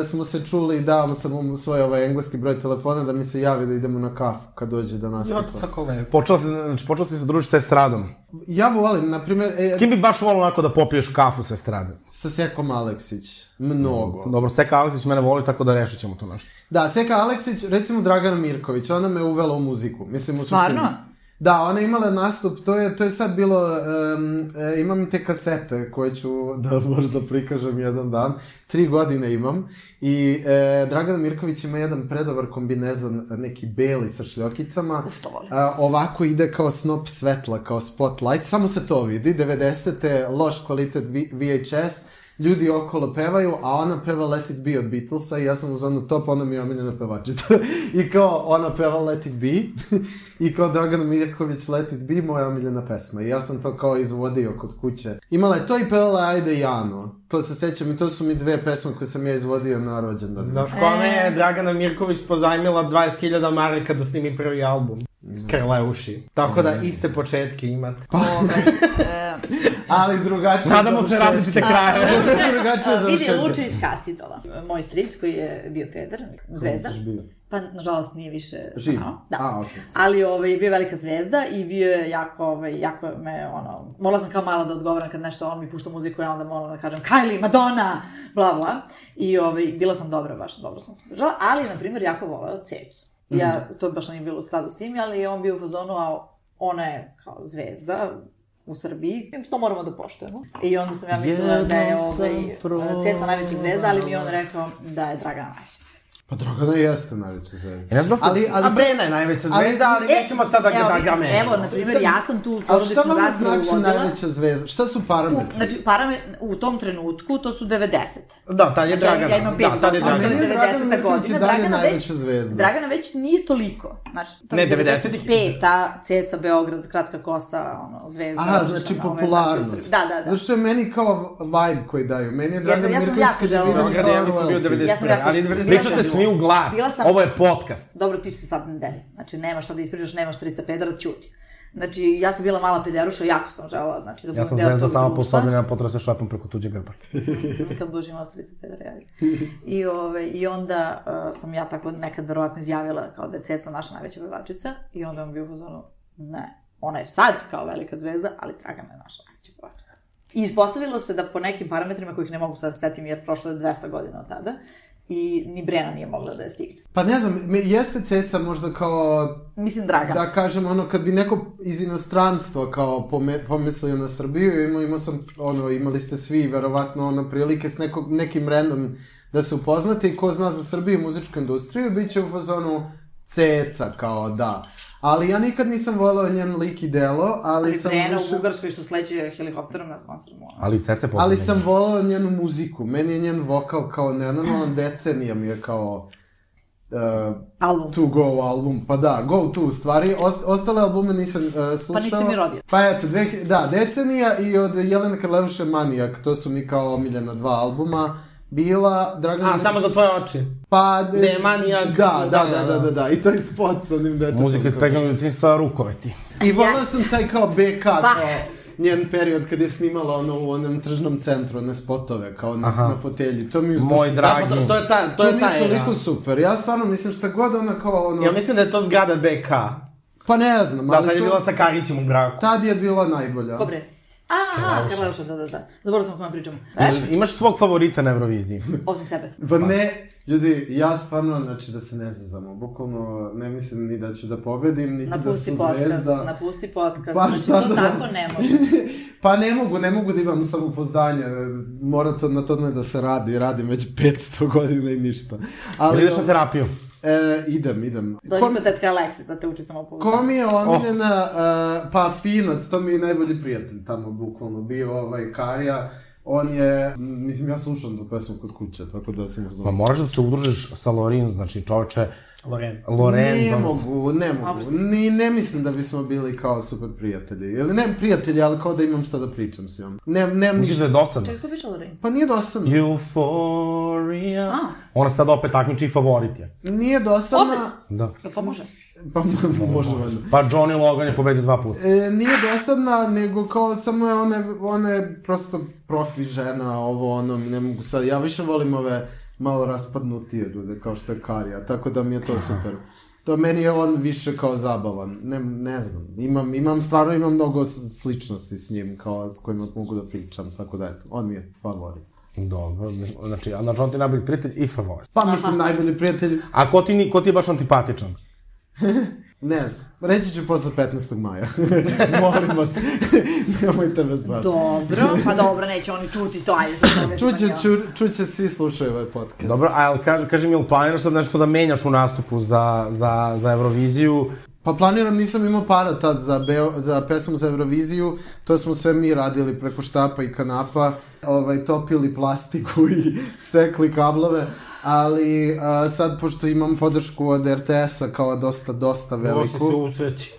S5: e, smo se čuli i dao sam mu svoj ovaj engleski broj telefona da mi se javi da idemo na kafu kad dođe da nastupa.
S4: Tako lepo.
S2: Počela si, znači, počela si se družiti sa estradom.
S5: Ja volim, na primjer, e,
S2: S kim bi baš volio onako da popiješ kafu sa estrade?
S5: sa Sekom Aleksić, mnogo.
S2: Dobro, Seka Aleksić mene voli, tako da rešit ćemo to nešto.
S5: Da, Seka Aleksić, recimo Dragana Mirković, ona me uvela u muziku. Mislim, u
S3: Stvarno?
S5: suštini. Da, ona je imala nastup, to je, to je sad bilo, em, e, imam te kasete koje ću da možda prikažem jedan dan, tri godine imam i e, Dragana Mirković ima jedan predobar kombinezon, neki beli sa šljokicama,
S3: Uf, to volim.
S5: a, ovako ide kao snop svetla, kao spotlight, samo se to vidi, 90. loš kvalitet V- VHS, ljudi okolo pevaju, a ona peva Let It Be od Beatlesa i ja sam uz onu top, ona mi je omiljena pevačica. I kao, ona peva Let It Be i kao Dragan Mirković Let It Be, moja omiljena pesma. I ja sam to kao izvodio kod kuće. Imala je to i pevala Ajde Jano. To se sećam i to su mi dve pesme koje sam ja izvodio na rođendan.
S2: Da.
S4: Znaš, kome
S3: E.
S4: je Dragana Mirković pozajmila 20.000 maraka da snimi prvi album? Krla uši. Tako da iste početke imate.
S3: Ovaj, e,
S5: Ali drugačije
S2: Nadamo se
S5: završetke.
S2: različite krajeve.
S5: drugačije
S4: Znači,
S3: a, vidi,
S5: završetke.
S3: Luče iz Kasidova. Moj stric koji je bio peder, zvezda.
S5: Misliš bio?
S3: Pa, nažalost, nije više
S5: Živ?
S3: znao. Da.
S5: A, okej.
S3: Ali ovaj, bio je velika zvezda i bio je jako, ovaj, jako me, ono, morala sam kao mala da odgovaram kad nešto, on mi pušta muziku, ja onda moram da kažem Kylie, Madonna, bla, bla. I ovaj, bila sam dobra, baš dobro sam se držala, ali, na primjer, jako voleo Cecu. Ja,
S2: Mhm.
S3: to baš nije bilo u skladu s tim, ali je on bio u fazonu, a ona je kao zvezda, u Srbiji, to moramo da poštujemo. I onda sam ja mislila da je
S2: Jednom sam
S3: ovaj,
S2: provala.
S3: Ceca najveća zvezda, ali mi je on rekao da je Dragana najveća zvezda.
S5: Pa Dragana jeste najveća zvezda.
S2: Ja ne znam da ste-
S5: ali, ali
S4: A Brena je najveća zvezda, ali
S3: E,
S4: nećemo sada
S3: evo,
S4: da ga
S3: vidi,
S4: menimo.
S3: Evo, na primjer,
S5: Sad-
S3: ja sam tu da
S5: Ali šta
S3: porodičnu
S5: vam
S3: raspravu
S5: znači
S3: vodila.
S5: najveća zvezda? Šta su parametri?
S3: Znači, parame, u tom trenutku to su 90.
S4: Da, tad je
S3: Znači,
S4: Dragana.
S3: ja imam pet
S4: da, tad je
S3: godina,
S5: A
S3: to
S5: meni
S3: je
S4: Dragana.
S5: je Dragana
S3: 90.
S5: Mirković i
S3: godina.
S5: dalje
S3: Dragana već,
S5: najveća zvezda.
S3: Dragana već nije toliko. Znači, to
S4: Ne,
S3: je
S4: 90-ih.
S3: 95-a, Ceca, Beograd, Kratka kosa, ono, zvezda.
S5: Aha,
S3: odlična,
S5: znači
S3: ove,
S5: popularnost.
S3: Da, da, da.
S5: Zašto je meni kao vibe koji daju? Meni je Dragana
S3: ja sam
S5: Mirković
S3: jako
S5: kad je
S3: želela
S5: vidim
S4: Beograd, ja
S5: kao
S4: mislim bio
S5: royalty.
S4: 91.
S3: Ja sam jako-
S4: ali
S3: Pričate
S4: 90.
S2: Pričate svi u glas.
S3: Bila sam-
S2: Ovo je podcast.
S3: Dobro, ti si sad na deli. Znači, nema šta da ispričaš, nema šta rica pedera, ćuti. Znači, ja sam bila mala pederuša, jako sam želela, znači, da budem
S2: Ja sam
S3: deo
S2: zvezda
S3: tog
S2: sama po
S3: društva.
S2: sobi, nema potrebe da se šlapam preko tuđe grba.
S3: kad Boži imao strica Pedra javi. I, ove, I onda uh, sam ja tako nekad verovatno izjavila kao da je Ceca naša najveća pevačica i onda je on bio u fazonu, ne, ona je sad kao velika zvezda, ali Dragana je naša najveća pevačica. I ispostavilo se da po nekim parametrima kojih ne mogu sad da se setim jer prošlo je 200 godina od tada i ni Brena nije mogla da je stigne.
S5: Pa ne znam, me- jeste ceca možda kao,
S3: Mislim Dragana.
S5: da kažem, ono, kad bi neko iz inostranstva kao pome, pomislio na Srbiju, imao, imao sam, ono, imali ste svi verovatno ono, prilike s nekog, nekim random da se upoznate i ko zna za Srbiju i muzičku industriju, bit će u fazonu ceca, kao da. Ali ja nikad nisam volao njen lik i delo, ali,
S3: ali
S5: sam
S3: Brena
S5: više-
S3: u Bugarskoj što sleće helikopterom na koncert. ono.
S2: Ali i cece pogleda.
S5: Ali sam volao njenu muziku. Meni je njen vokal kao nenormalan decenija mi je kao uh,
S3: Album.
S5: To Go album. Pa da, Go To u stvari. Os- ostale albume nisam uh, slušao.
S3: nisam ni rodio.
S5: Pa eto, dve, da, decenija i od Jelena Karlevuše Manijak. To su mi kao omiljena dva albuma. Bila, Dragan...
S4: A, samo za tvoje oči.
S5: Pa, e,
S4: Da je Manijak-
S5: Da, da, da, da, da, da. I taj spot sa onim detetom.
S2: Muzika iz pegnog djetinstva, rukoveti.
S5: I volao sam taj kao BK,
S3: Pa.
S5: kao njen period kad je snimala ono u onom tržnom centru, one spotove, kao na, na fotelji. To mi je...
S2: Moj
S4: Da, pa
S2: dragi.
S4: to, to je ta, to
S5: To,
S4: je
S5: mi
S4: ta
S5: je
S4: era.
S5: toliko super. Ja stvarno mislim šta god ona kao ono...
S4: Ja mislim da je to zgrada BK.
S5: Pa ne znam,
S4: Da,
S5: ali
S4: tad je
S5: to-
S4: bila sa Karićem u braku.
S5: tad je bila najbolja.
S3: Ko bre? A, a, Karleuša, da, da, da. Zaboravila sam o kome pričamo. E,
S2: Jel Imaš svog favorita na Euroviziji?
S3: osim sebe.
S5: Pa ne, ljudi, ja stvarno, znači da se ne zazamo, bukvalno ne mislim ni da ću da pobedim, niti da
S3: Napusti
S5: sam
S3: podcast, znači,
S5: zvezda.
S3: napusti podcast,
S5: Pa
S3: znači
S5: šta
S3: to
S5: da-
S3: tako ne može.
S5: pa ne mogu, ne mogu da imam samopouzdanje, mora to, na tome da se radi, radim već 500 godina i ništa.
S2: Ili
S5: Ali,
S2: ideš na terapiju?
S5: e, idem, idem.
S3: Dođi
S5: Kom-
S3: kod tetke Aleksis da te uči samo po
S5: Ko mi je Oh. e, omiljena, uh, pa Finac, to mi je najbolji prijatelj tamo bukvalno bio, ovaj Karija, on je, m, mislim, ja slušam tu pesmu kod kuće, tako da sam uzao.
S2: Ma moraš da se udružiš sa Lorin, znači čoveče,
S4: Loren.
S2: Loren,
S5: Ne
S2: dobro.
S5: mogu, ne mogu. Ni, ne mislim da bismo bili kao super prijatelji. Ili ne prijatelji, ali kao da imam šta da pričam s njom. Ne, ne,
S2: Misliš da je dosadno?
S3: Čekaj, ko biš Lorin?
S5: Pa nije dosadno.
S2: Euphoria.
S3: A.
S2: Ona sad opet takmiči i favorit je.
S5: Nije dosadna...
S3: Opet?
S2: Da.
S3: Jel to može?
S5: Pa može, valjda.
S2: Pa Johnny Logan je pobedio dva puta.
S5: E, nije dosadna, nego kao samo je ona, ona je prosto profi žena, ovo ono, ne mogu sad, ja više volim ove malo raspadnutije ljude, kao što je Karija, tako da mi je to super. To meni je on više kao zabavan, ne, ne znam, imam, imam, stvarno imam mnogo s- sličnosti s njim, kao s kojima mogu da pričam, tako da eto, on mi je favorit.
S2: Dobro, znači, a znači on ti je najbolji prijatelj i favorit.
S5: Pa mislim, najbolji prijatelj,
S2: A ko ti, ni- ko ti je baš antipatičan?
S5: ne znam, reći ću posle 15. maja, molim vas, nemojte me sad.
S3: Dobro, pa dobro, neće oni čuti to, ajde sad dobro.
S5: Čuće,
S3: pa ja.
S5: ču, čuće, svi slušaju ovaj podcast.
S2: Dobro, a jel, kaži, kaži mi, jel planiraš sad nešto da menjaš u nastupu za, za, za Euroviziju?
S5: Pa planiram, nisam imao para tad za, Beo, za pesmu za Euroviziju, to smo sve mi radili preko štapa i kanapa, ovaj, topili plastiku i sekli kablove, ali a, sad pošto imam podršku od RTS-a kao dosta, dosta
S4: Ovo si se
S5: veliku.
S4: usreći.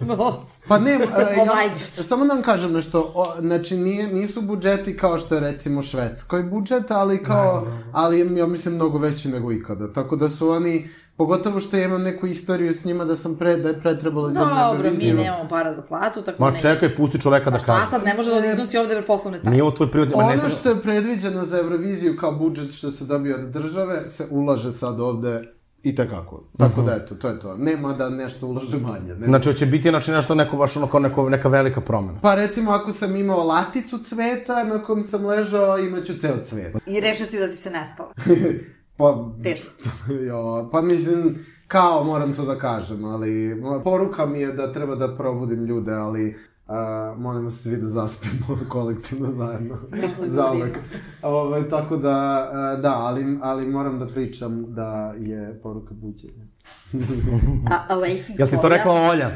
S5: Pa ne, e,
S3: Ovo,
S5: ja,
S3: ajde.
S5: samo da vam kažem nešto, o, znači nije, nisu budžeti kao što je recimo švedskoj budžet, ali kao, ali je, ja mislim mnogo veći nego ikada, tako da su oni, pogotovo što ja imam neku istoriju s njima da sam pre, da je pre trebalo da idem na
S3: Dobro, mi
S5: Euroviziju.
S3: nemamo para za platu, tako
S2: Ma
S3: ne.
S2: čekaj, pusti čoveka da
S3: A
S2: kaže.
S3: sad ne može da iznosi ovde poslovne tajne.
S2: Nije ovo tvoj privatni... ma ne
S5: Ono
S2: treba-
S5: što je predviđeno za Euroviziju kao budžet što se dobio od države se ulaže sad ovde i takako. Tako
S2: Mhm.
S5: da eto, to je to. Nema da nešto ulaže manje. Ne.
S2: Znači, hoće biti znači, nešto neko baš ono kao neko, neka velika promena.
S5: Pa recimo ako sam imao laticu cveta na kom sam ležao imaću ceo cvet.
S3: I rešio si da ti se ne spava.
S5: Pa,
S3: Teško.
S5: jo, pa mislim, kao moram to da kažem, ali moja poruka mi je da treba da probudim ljude, ali a, molim vas svi da zaspimo kolektivno zajedno, zauvek. Ove, tako da, a, da, ali, ali moram da pričam da je poruka buđenja.
S3: A, a waking
S2: Jel ti to
S3: Gloria?
S2: rekla Olja?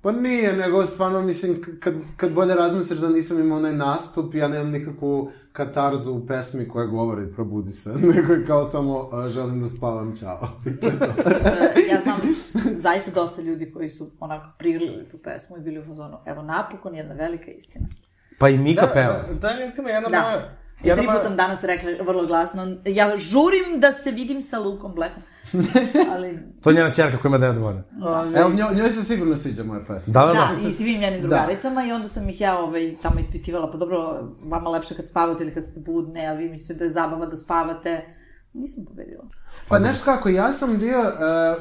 S5: Pa nije, nego stvarno mislim, k- kad, kad bolje razmisliš da nisam imao onaj nastup, ja nemam nikakvu katarzu u pesmi koja govori probudi se, nego je kao samo a, želim da spavam, čao.
S3: E, ja znam zaista dosta ljudi koji su onako prigrlili tu pesmu i bili u fazonu. Evo, napokon jedna velika istina.
S2: Pa i Mika peva.
S4: To je recimo jedna
S3: Da.
S4: moja...
S3: I
S4: jedna
S3: tri
S4: moja-
S3: put sam danas rekla vrlo glasno, ja žurim da se vidim sa Lukom Blackom. Ali,
S2: To je njena čerka koja ima 9 godina.
S5: Evo, njoj, njoj se sigurno sviđa moja pesma.
S2: Da, da, da.
S3: da, i svim njenim drugaricama i onda sam ih ja ovaj, tamo ispitivala, pa dobro, vama lepše kad spavate ili kad ste budne, a vi mislite da je zabava da spavate. Nisam pobedila.
S5: Pa znaš kako, ja sam bio uh,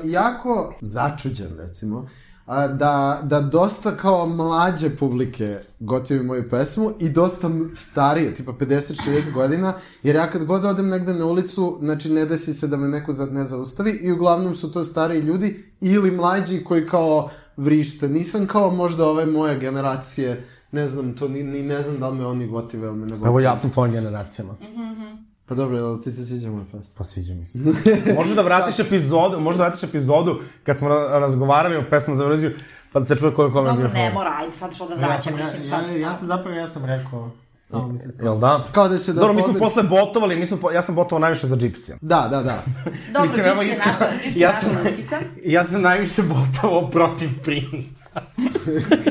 S5: jako začuđen, recimo, a, da, da dosta kao mlađe publike gotivi moju pesmu i dosta m- starije, tipa 50-60 godina, jer ja kad god odem negde na ulicu, znači ne desi se da me neko za- ne zaustavi i uglavnom su to stariji ljudi ili mlađi koji kao vrište. Nisam kao možda ove moje generacije, ne znam, to ni, ni ne znam da li me oni gotive ili me ne gotive.
S2: Evo ja sam tvojim generacijama.
S3: Mhm.
S5: Pa dobro, jel ti se sviđa moja pesma?
S2: Pa sviđa mi se. Možeš da vratiš epizodu, možeš da vratiš epizodu kad smo ra- razgovarali o pesmu za Euroviziju, pa da se čuje koliko vam je bio
S3: Dobro, ne
S2: favorit.
S3: mora, ajde sad što da
S4: Ja
S3: vraćam,
S4: sam, ja,
S3: mislim, sad.
S4: ja, ja sam zapravo, ja sam rekao... Samo mi se
S2: Jel da?
S5: Kao da će da
S2: Dobro, mi smo
S5: pobedi.
S2: posle botovali, mi smo, po- ja sam botovao najviše za Gypsy.
S5: Da, da, da.
S3: Dobro,
S4: Mislim,
S3: Gypsy
S4: evo,
S3: je
S4: iskreno,
S3: naša, Gypsy je
S4: ja
S3: naša
S4: sam-
S3: mrkica.
S4: Ja sam najviše botovo protiv Princa.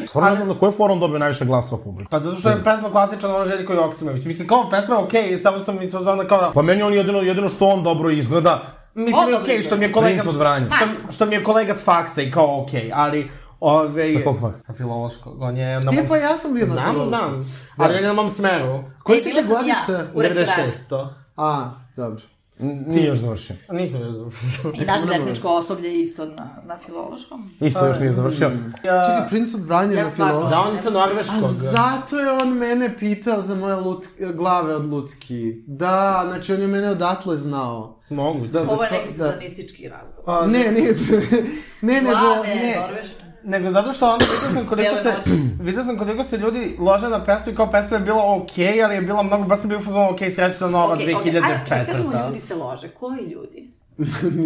S2: Stvarno ne znam na koji forum dobio najviše glasova publika.
S4: Pa zato što je pesma klasična ono Željko Joksimović. Mislim, kao pesma je okej, samo sam mislio za onda kao da...
S2: Pa meni on jedino, jedino što on dobro izgleda,
S4: Mislim, je
S3: Odobri
S4: okej,
S3: ga.
S4: što mi je kolega...
S2: Princ od Vranja.
S3: Pa-
S4: Što, što mi je kolega s faksa i kao okej, ali... Ove,
S2: Sa kog faksa?
S4: Sa filološkog. On je na
S5: E,
S4: mom...
S5: pa ja sam bio na
S4: znam,
S5: filološkom.
S4: znam. Ali on je na mom smeru.
S5: Koji
S3: E,
S5: si
S3: bila
S5: ti
S3: sam
S5: godište?
S3: ja u referatu.
S4: 96.
S5: A, dobro.
S2: n- nije još završio.
S4: Nisam još završio.
S3: I naše tehničko osoblje je isto na, na filološkom.
S2: Isto još nije završio.
S5: Mm. Čekaj, princ od Vranja
S3: Ja
S5: na
S3: stvarno-
S5: filološkom.
S4: Da, on je sa norveškog.
S5: A zato je on mene pitao za moje lut, glave od lutki. Da, znači on je mene odatle znao.
S4: Moguće.
S5: Da.
S3: Ovo je
S5: sa-
S3: neki
S5: da.
S3: satanistički razgovor.
S4: Pa,
S5: Ne, nije, ne, nego,
S3: Glave,
S5: ne.
S3: Norveške.
S4: Nego zato što onda vidio sam koliko
S3: Bele
S4: se,
S3: noći.
S4: vidio sam koliko se ljudi lože na pesmu i kao pesma je bila okej, ali je bila mnogo, baš sam bio fuzon okej, srećna nova
S3: Okej, okej, ajde, kad
S4: 2004.
S3: kažemo ljudi se lože, koji ljudi?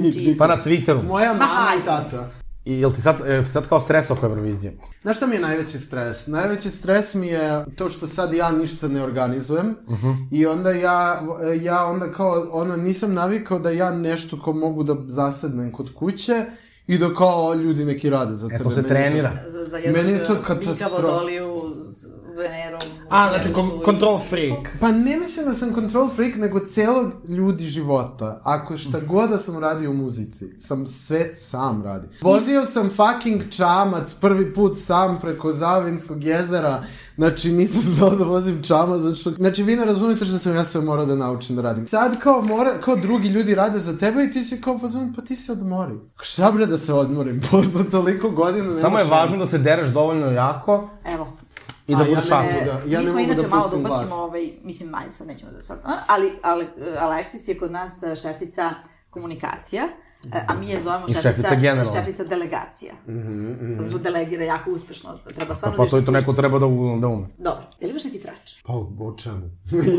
S5: Ni-
S3: Čiji?
S2: Pa na Twitteru.
S5: Moja mama
S3: hajde.
S5: i tata.
S2: I jel ti sad, jel ti sad kao stres oko Eurovizije?
S5: Znaš šta mi je najveći stres? Najveći stres mi je to što sad ja ništa ne organizujem
S2: Mhm.
S5: i onda ja, ja onda kao, ono, nisam navikao da ja nešto ko mogu da zasednem kod kuće i da kao ljudi neki rade za
S2: E,
S5: tebe.
S2: to se
S5: Meni je
S2: trenira.
S3: Za, za jednog
S5: Meni je to
S3: eh,
S5: katastrofa.
S3: Bika, Vodoliju, z- Veneru.
S4: A, znači,
S3: Venusu
S4: kon-
S3: i-
S4: control freak.
S5: Pa ne mislim da sam control freak, nego celog ljudi života. Ako šta
S2: Mhm.
S5: god da sam radio u muzici, sam sve sam radio. Vozio sam fucking čamac prvi put sam preko Zavinskog jezera. Znači nisam znao da vozim čamac, zato što... Znači vi ne razumete što sam ja sve morao da naučim da radim. Sad kao, mora, kao drugi ljudi rade za tebe i ti si kao fazon, pa ti se odmori. Šta bre da se odmorim, posle toliko godina nema
S2: Samo je
S5: šanse.
S2: važno da se dereš dovoljno jako
S3: Evo.
S2: i da
S5: A, ja
S2: budeš
S5: ne-
S2: šasan.
S5: Da,
S3: Da,
S5: ja
S3: ja
S5: ne
S3: mi smo
S5: mogu da
S3: inače malo da
S5: pustim
S3: ubacimo,
S5: glas.
S3: ovaj, mislim, manje sad nećemo da sad, a, ali, ali eh, Aleksis je kod nas eh, šefica komunikacija, eh, a mi je zovemo
S2: I
S3: šefica,
S2: šefica generalno.
S3: šefica delegacija. Mm
S5: Mhm,
S3: Delegira jako uspešno, treba stvarno
S2: Pa
S3: da
S2: to
S3: ideš-
S2: i to neko treba da, u- da ume.
S3: Dobro, je li imaš neki trač?
S5: Pa, o čemu?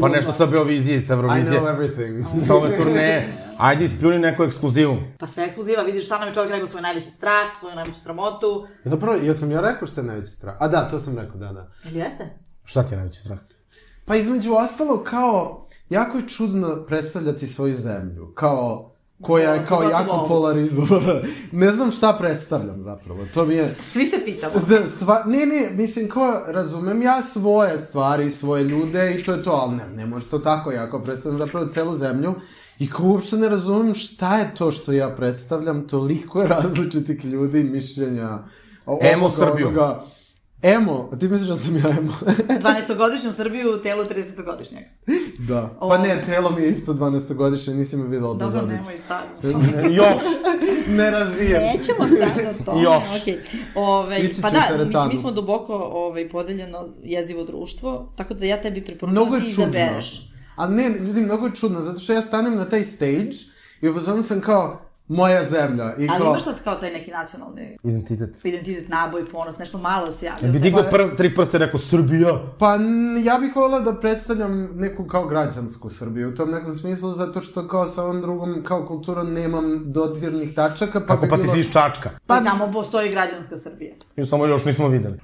S2: Pa nešto sa Beovizije i sa
S5: I know
S2: Eurovizije.
S5: everything.
S2: Sa ove turneje. Ajde ispljuni neku ekskluzivu.
S3: Pa sve ekskluziva, vidiš šta nam je čovjek rekao svoj najveći strah, svoju najveću sramotu.
S5: Dobro, jesam ja rekao što je najveći strah? A da, to sam rekao, da, da.
S3: Ili jeste?
S2: Šta ti je najveći strah?
S5: Pa između ostalo, kao, jako je čudno predstavljati svoju zemlju. Kao, koja je
S3: Da,
S5: kao
S3: pogotovo
S5: jako
S3: ovu.
S5: polarizovana. ne znam šta predstavljam zapravo, to mi je...
S3: Svi se pitamo.
S5: Da, stva, ne, ne, mislim, kao, razumem ja svoje stvari, i svoje ljude i to je to, ali ne, ne može to tako, ja kao predstavljam zapravo celu zemlju i kao uopšte ne razumem šta je to što ja predstavljam, toliko je različitih ljudi, mišljenja, o-
S2: Emo
S5: ovoga,
S2: Srbiju.
S5: onoga. Emo, ti misliš da sam ja emo?
S3: 12-godišnju Srbiju u telu 30-godišnjeg.
S5: da. Pa
S3: O.
S5: ne, telo mi je isto 12-godišnje, nisi me videla
S3: Dobro,
S5: obozadić.
S3: nemoj sad.
S2: Još!
S5: Ne razvijem.
S3: Nećemo sad o tome,
S2: Još.
S3: okej. Ove,
S5: da, Ići
S3: pa
S5: će u
S3: da, mislim,
S5: teretanu.
S3: mi smo duboko ove, podeljeno jezivo društvo, tako da ja tebi preporučujem
S5: Mnogo
S3: da
S5: je
S3: ti
S5: čudno.
S3: izabereš.
S5: A ne, ljudi, mnogo je čudno, zato što ja stanem na taj stage i u fazonu sam kao, moja zemlja. I
S3: Ali
S5: kao,
S3: imaš sad kao taj neki nacionalni
S2: Identitet.
S3: identitet, naboj, ponos, nešto malo se javlja. da
S2: Ja bi digao prst, tri prste i rekao Srbija.
S5: Pa n- ja bih volila da predstavljam neku kao građansku Srbiju u tom nekom smislu, zato što kao sa ovom drugom kao kulturom nemam dodirnih tačaka, pa
S2: Kako
S5: bi
S2: pa ti
S5: bilo...
S2: si iz Čačka.
S3: Pa tamo postoji građanska Srbija.
S2: I samo još nismo videli.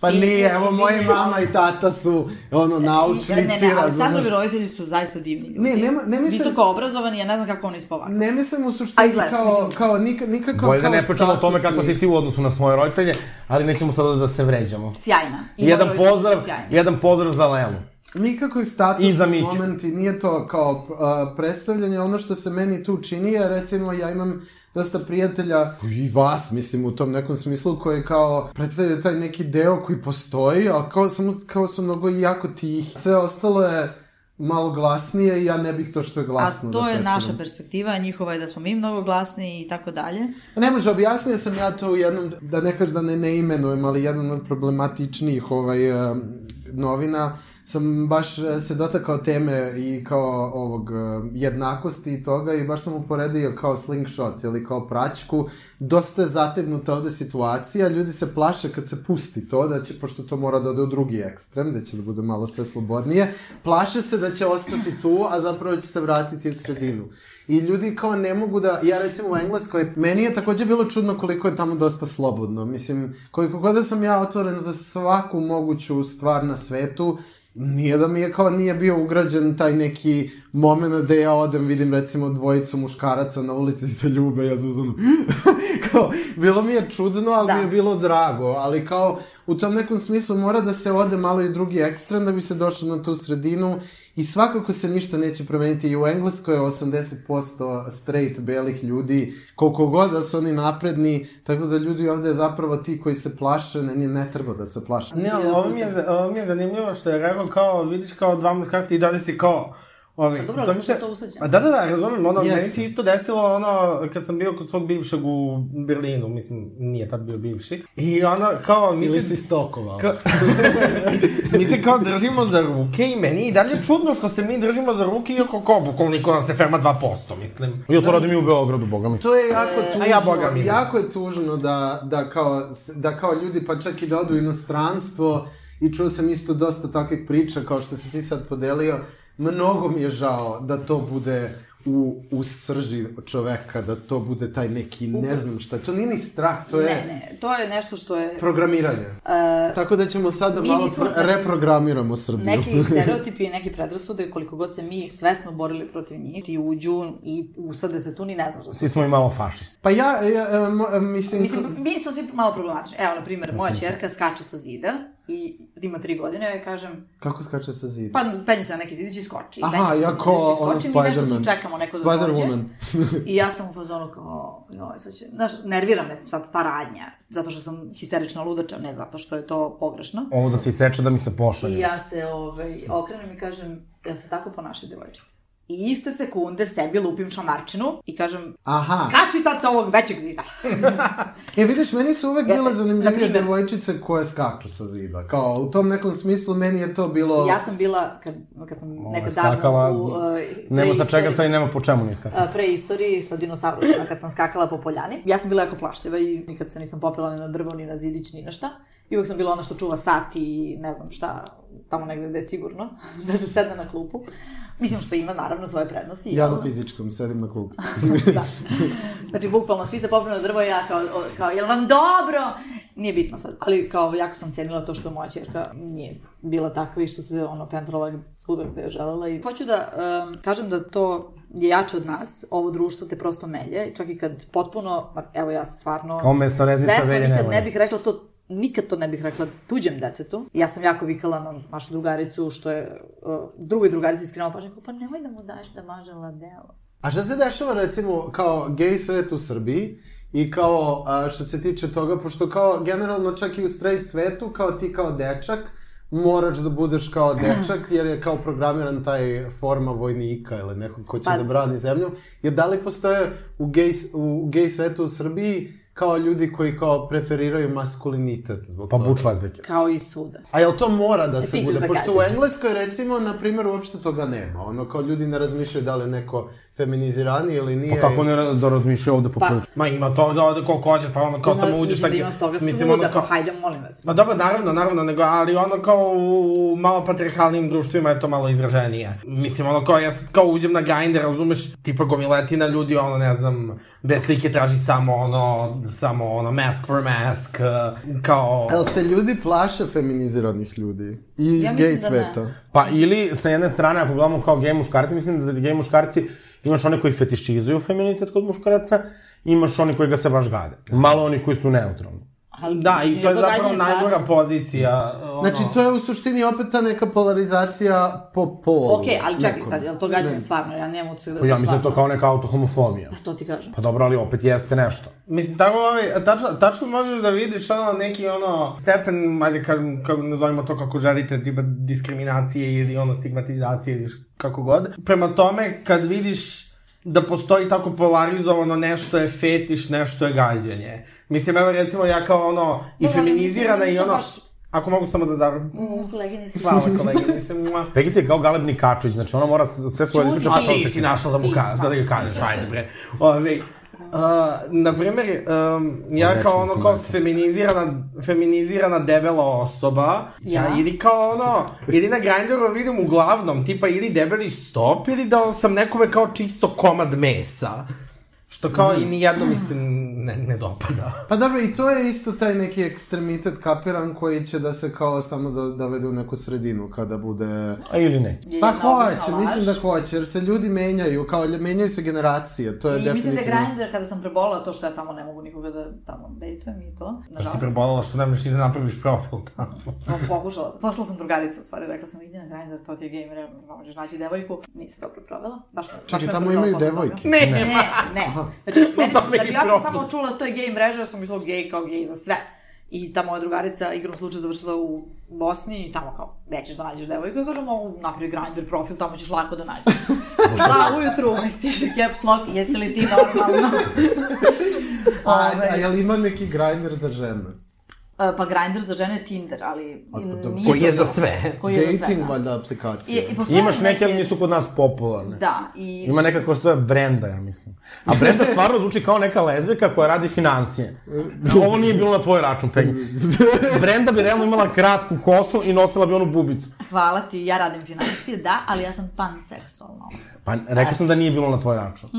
S5: Pa
S3: Ti-
S5: nije, evo
S3: izvini,
S5: moji
S3: ali-
S5: mama i tata su ono naučnici,
S3: Ne, ne, ne,
S5: razumeš?
S3: Aleksandrovi roditelji su zaista divni ljudi.
S5: Ne, nema- ne mislim-
S3: Visoko obrazovani, ja ne znam kako oni spava.
S5: Ne mislim u
S3: A
S5: suštini
S3: izgleda,
S5: kao,
S3: mislim.
S5: kao nika, nikako
S2: Bolje da
S5: kao
S2: ne pričamo o tome
S5: statusni.
S2: kako si ti u odnosu na svoje roditelje, ali nećemo sada da se vređamo.
S3: Sjajna. I
S2: Jedan
S3: moji roditelji su
S2: pozdrav,
S3: sjajni.
S2: jedan pozdrav za Lelu.
S5: Nikako je
S2: I za
S5: statusni
S2: Miću.
S5: moment i nije to kao a, predstavljanje. Ono što se meni tu čini je, recimo, ja imam dosta prijatelja, i vas, mislim, u tom nekom smislu, koji kao predstavljaju taj neki deo koji postoji, a kao, samo, kao su mnogo i jako tih. Sve ostalo je malo glasnije i ja ne bih to što je
S3: A
S5: glasno
S3: to
S5: da
S3: je naša
S5: predstavljam.
S3: perspektiva, a njihova je da smo mi mnogo glasni i tako dalje.
S5: Pa Ne može, objasnio sam ja to u jednom, da ne kažem da ne, ne imenujem, ali jedan od problematičnijih ovaj, em, novina sam baš eh, se dotakao teme i kao ovog eh, jednakosti i toga i baš sam uporedio kao slingshot ili kao praćku. Dosta je zategnuta ovde situacija, ljudi se plaše kad se pusti to, da će, pošto to mora da ode u drugi ekstrem, da će da bude malo sve slobodnije, plaše se da će ostati tu, a zapravo će se vratiti u sredinu. I ljudi kao ne mogu da, ja recimo u Engleskoj, meni je takođe bilo čudno koliko je tamo dosta slobodno. Mislim, koliko god da sam ja otvoren za svaku moguću stvar na svetu, nije da mi je kao nije bio ugrađen taj neki moment da ja odem, vidim recimo dvojicu muškaraca na ulici se ljube, ja zuzonu. kao, bilo mi je čudno, ali
S3: Da.
S5: mi je bilo drago, ali kao u tom nekom smislu mora da se ode malo i drugi ekstrem da bi se došlo na tu sredinu i svakako se ništa neće promeniti i u Engleskoj je 80% straight belih ljudi, koliko god da su oni napredni, tako da ljudi ovde zapravo ti koji se plaše, ne, ne, ne treba da se plaše.
S4: Ne, ali ovo mi, je, za- ovo mi je zanimljivo što je rekao kao, vidiš kao dva muškarca i dalje si kao... Ovi,
S3: Pa dobro, ali
S4: to mi
S3: zašto
S4: se-
S3: to usuđeno?
S4: Pa da, da, da, razumem, ono, meni
S5: Jeste.
S4: se isto desilo ono, kad sam bio kod svog bivšeg u Berlinu, mislim, nije tad bio bivši. I ono, kao, mislim...
S5: Ili si stokovao.
S4: Ka... mi se kao držimo za ruke i meni je i dalje čudno što se mi držimo za ruke iako kao bukvalniko nas se ferma 2%, mislim.
S2: Ja to radim i u Beogradu, boga mi.
S5: To je jako
S4: E,
S5: tužno,
S4: a ja Boga mi ne.
S5: jako je tužno da, da, kao, da kao ljudi pa čak i da odu u inostranstvo i čuo sam isto dosta takvih priča kao što si ti sad podelio. Mnogo mi je žao da to bude u, u srži čoveka da to bude taj neki, ne znam šta, to nije ni strah, to je
S3: Ne, ne, to je nešto što je...
S5: programiranje. Tako da ćemo sada
S3: mi
S5: malo
S3: nismo- znači
S5: pro- reprogramiramo Srbiju.
S3: Neki stereotipi i neki predrasude, koliko god se mi svesno borili protiv njih, ti uđu i usade se tu, ni ne znaš da se...
S2: Svi smo i malo fašisti.
S5: Pa ja, ja, e, mo- e, mislim,
S3: Mislim, mi smo svi malo problematični. Evo, na primjer, moja čerka skače sa zida i ima tri godine, ja joj kažem,
S5: kako skače sa zida?
S3: pa penje se na neki zidić i skoči.
S5: Aha,
S3: penje se na
S5: jako
S3: neki zidić i
S5: ono
S3: skoči, mi nešto tu
S5: Spider-Man.
S3: čekamo neko da dođe.
S5: Spider-Woman.
S3: I ja sam u fazonu kao, joj, sad će, znaš, nervira me sad ta radnja, zato što sam histerična ludača, ne zato što je to pogrešno.
S2: Ovo da se iseče da mi se pošalje.
S3: I ja se ovaj, okrenem i kažem, ja se tako ponaša devojčica. I iste sekunde sebi lupim šamarčinu i kažem,
S5: Aha.
S3: kači sad sa ovog većeg zida.
S5: E, vidiš, meni su uvek
S3: Ja,
S5: bile zanimljivije
S3: naprimjer-
S5: devojčice koje skaču sa zida. Kao, u tom nekom smislu meni je to bilo...
S3: Ja sam bila, kad, kad sam
S2: Ona je
S3: nekad
S2: skakala,
S3: davno u uh,
S2: Nema sa čega
S3: preistoriji-
S2: sve i nema po čemu niska.
S3: a, preistoriji sa dinosaurusima kad sam skakala po poljani. Ja sam bila jako plašljiva i nikad se nisam popela ni na drvo, ni na zidić, ni na šta. I uvek sam bila ona što čuva sat i ne znam šta, tamo negde gde je sigurno, da se sedne na klupu. Mislim što ima naravno svoje prednosti.
S5: Ja
S3: jel?
S5: na fizičkom, sedim na klubu.
S3: da. Znači, bukvalno, svi se popnu na drvo i ja kao, o- kao, jel vam dobro? Nije bitno sad, ali kao, jako sam cenila to što moja čerka nije bila takva i što se, ono, pentrala svuda gde je želela. I... Hoću da em, kažem da to je jače od nas, ovo društvo te prosto melje, čak i kad potpuno, ma, evo ja stvarno...
S2: Kao mesna reznica
S3: svesno
S2: Velje
S3: nikad
S2: Nevolje.
S3: ne bih rekla to nikad to ne bih rekla tuđem detetu. Ja sam jako vikala na našu drugaricu što je uh, drugoj drugarici skrenula pažnju, kao, pa nemoj da mu daješ da maže labelo.
S5: A šta se dešava recimo kao gej svet u Srbiji i kao a, što se tiče toga, pošto kao generalno čak i u straight svetu kao ti kao dečak moraš da budeš kao dečak jer je kao programiran taj forma vojnika ili nekog ko će
S3: Pa-
S5: da brani zemlju. Jer da li postoje u gej, s- u gej svetu u Srbiji kao ljudi koji kao preferiraju maskulinitet zbog
S2: Pa
S5: toga?
S2: Buč Vazbeke.
S3: Kao i svuda.
S5: A jel to mora da se
S3: Ti ćeš
S5: bude?
S3: da
S5: Pošto u
S3: kažeš.
S5: Engleskoj, recimo, na primjer, uopšte toga nema. Ono, kao ljudi ne razmišljaju da li je neko feminiziraniji ili nije.
S2: Pa kako ne da razmišljaju ovde po
S3: Pa,
S2: priliču.
S4: Ma ima toga ovde koliko hoćeš, pa ono kao
S3: Ima-
S4: samo uđeš
S3: mislim
S4: tako...
S3: da ima toga
S4: mislim,
S3: svuda,
S4: ono kao-
S3: pa hajde, molim vas.
S4: Ma dobro, naravno, naravno, nego, ali ono kao u malo patriarhalnim društvima je to malo izraženije. Mislim, ono kao ja sad kao uđem na Grindr, razumeš, tipa gomiletina ljudi, ono, ne znam, bez slike traži samo ono, samo ono, mask for mask, eh, kao...
S5: Jel se ljudi plaše feminiziranih ljudi? I iz
S3: mislim
S5: gej
S3: da
S5: sveta?
S3: ne.
S2: Pa ili sa jedne strane, ako gledamo kao gej muškarci, mislim da gej muškarci, imaš one koji fetišizuju feminitet kod muškaraca, imaš oni koji ga se baš gade. Malo oni koji su neutralni.
S3: Ali,
S4: Da, i
S3: mislim,
S4: to je
S3: događanje
S4: zapravo
S3: stvarno-
S4: najgora pozicija. Ono,
S5: Znači, to je u suštini opet ta neka polarizacija po polu.
S3: Okej, ali čekaj
S5: nekom.
S3: sad, je li to gađanje stvarno? Ja nemam utisak da je
S2: Pa
S3: to
S2: ja mislim da je to
S3: stvarno.
S2: kao neka autohomofobija.
S3: Pa to ti kažem.
S2: Pa dobro, ali opet jeste nešto.
S4: Mislim, tako ovaj, tačno, tačno možeš da vidiš ono neki ono stepen, ajde kažem, kako nazovimo to kako želite, tipa diskriminacije ili ono stigmatizacije ili š- kako god. Prema tome, kad vidiš da postoji tako polarizovano nešto je fetiš, nešto je gađanje. Mislim, evo recimo ja kao ono i
S3: Dobro, ali
S4: feminizirana
S3: mislim
S4: i
S3: da
S4: ono...
S3: baš-
S4: Ako mogu samo da završim.
S3: Koleginici.
S4: Hvala koleginice. mua.
S2: Pegita je kao Galeb Nikačević, znači ona mora s- sve svoje
S3: Čudi.
S2: izpriče
S4: A
S3: Ti
S4: ti si našla da mu
S3: Ti,
S4: kažeš,
S3: da.
S4: da da joj kažeš, ajde bre. Ove, Uh, na primjer, um, ja kao ono kao feminizirana, feminizirana debela osoba, ja,
S3: Ja?
S4: ili kao ono, ili na Grindr-u vidim uglavnom, tipa ili debeli stop, ili da sam nekome kao čisto komad mesa. Što kao i nijedno mi se ne, ne dopada.
S5: Pa dobro, i to je isto taj neki ekstremitet kapiran koji će da se kao samo do, dovede u neku sredinu kada bude...
S2: A ili ne.
S5: Pa hoće, mislim da hoće, jer se ljudi menjaju, kao lj- menjaju se generacije, to je
S3: I mislim
S5: definitivno...
S3: da je Grindr, kada sam prebolala to što ja tamo ne mogu nikoga da tamo dejtujem i to,
S4: Da si
S3: nažalost,
S4: prebolala što ne možeš i da napraviš profil tamo.
S3: no, pokušala sam. Poslala sam drugaricu, u stvari, rekla sam, idi na Grindr, to ti je gamer, možeš naći devojku. Nisam dobro provela. Baš, baš
S5: Čekaj,
S3: me
S5: tamo
S3: ubrzala
S5: imaju
S3: posla
S5: devojke?
S3: toga. Ne, ne, ne. Znači, meni,
S4: tome je
S3: znači ja sam
S4: problem.
S3: samo čula to je gej mreža, ja sam mislila gej kao gej za sve. I ta moja drugarica igrom slučaja završila u Bosni i tamo kao, nećeš da nađeš devojku. Ja kažem, ovo napravi Grindr profil, tamo ćeš lako da nađeš. Dva ujutru mi stiže caps lock, jesi li ti normalno?
S5: A,
S3: Ovaj.
S5: Pa, a jel ima neki grinder za žene?
S3: E, Pa Grindr za žene je Tinder, ali...
S5: A, pa dobro.
S3: nije
S6: Koji je
S3: to
S6: za
S3: to.
S6: sve.
S3: Koji je za sve,
S5: Dating,
S3: da.
S5: valjda,
S3: I,
S5: aplikacije.
S3: i postoje
S2: Imaš neke, ali nisu kod nas popularne.
S3: Da, i...
S2: Ima neka koja stoja Brenda, ja mislim. A Brenda stvarno zvuči kao neka lezbika koja radi financije.
S4: Da.
S2: Ovo nije bilo na tvoj račun, Peggy. Brenda bi realno imala kratku kosu i nosila bi onu bubicu.
S3: Hvala ti, ja radim financije, da, ali ja sam panseksualna osoba.
S2: Pa rekao sam da nije bilo na tvoj račun.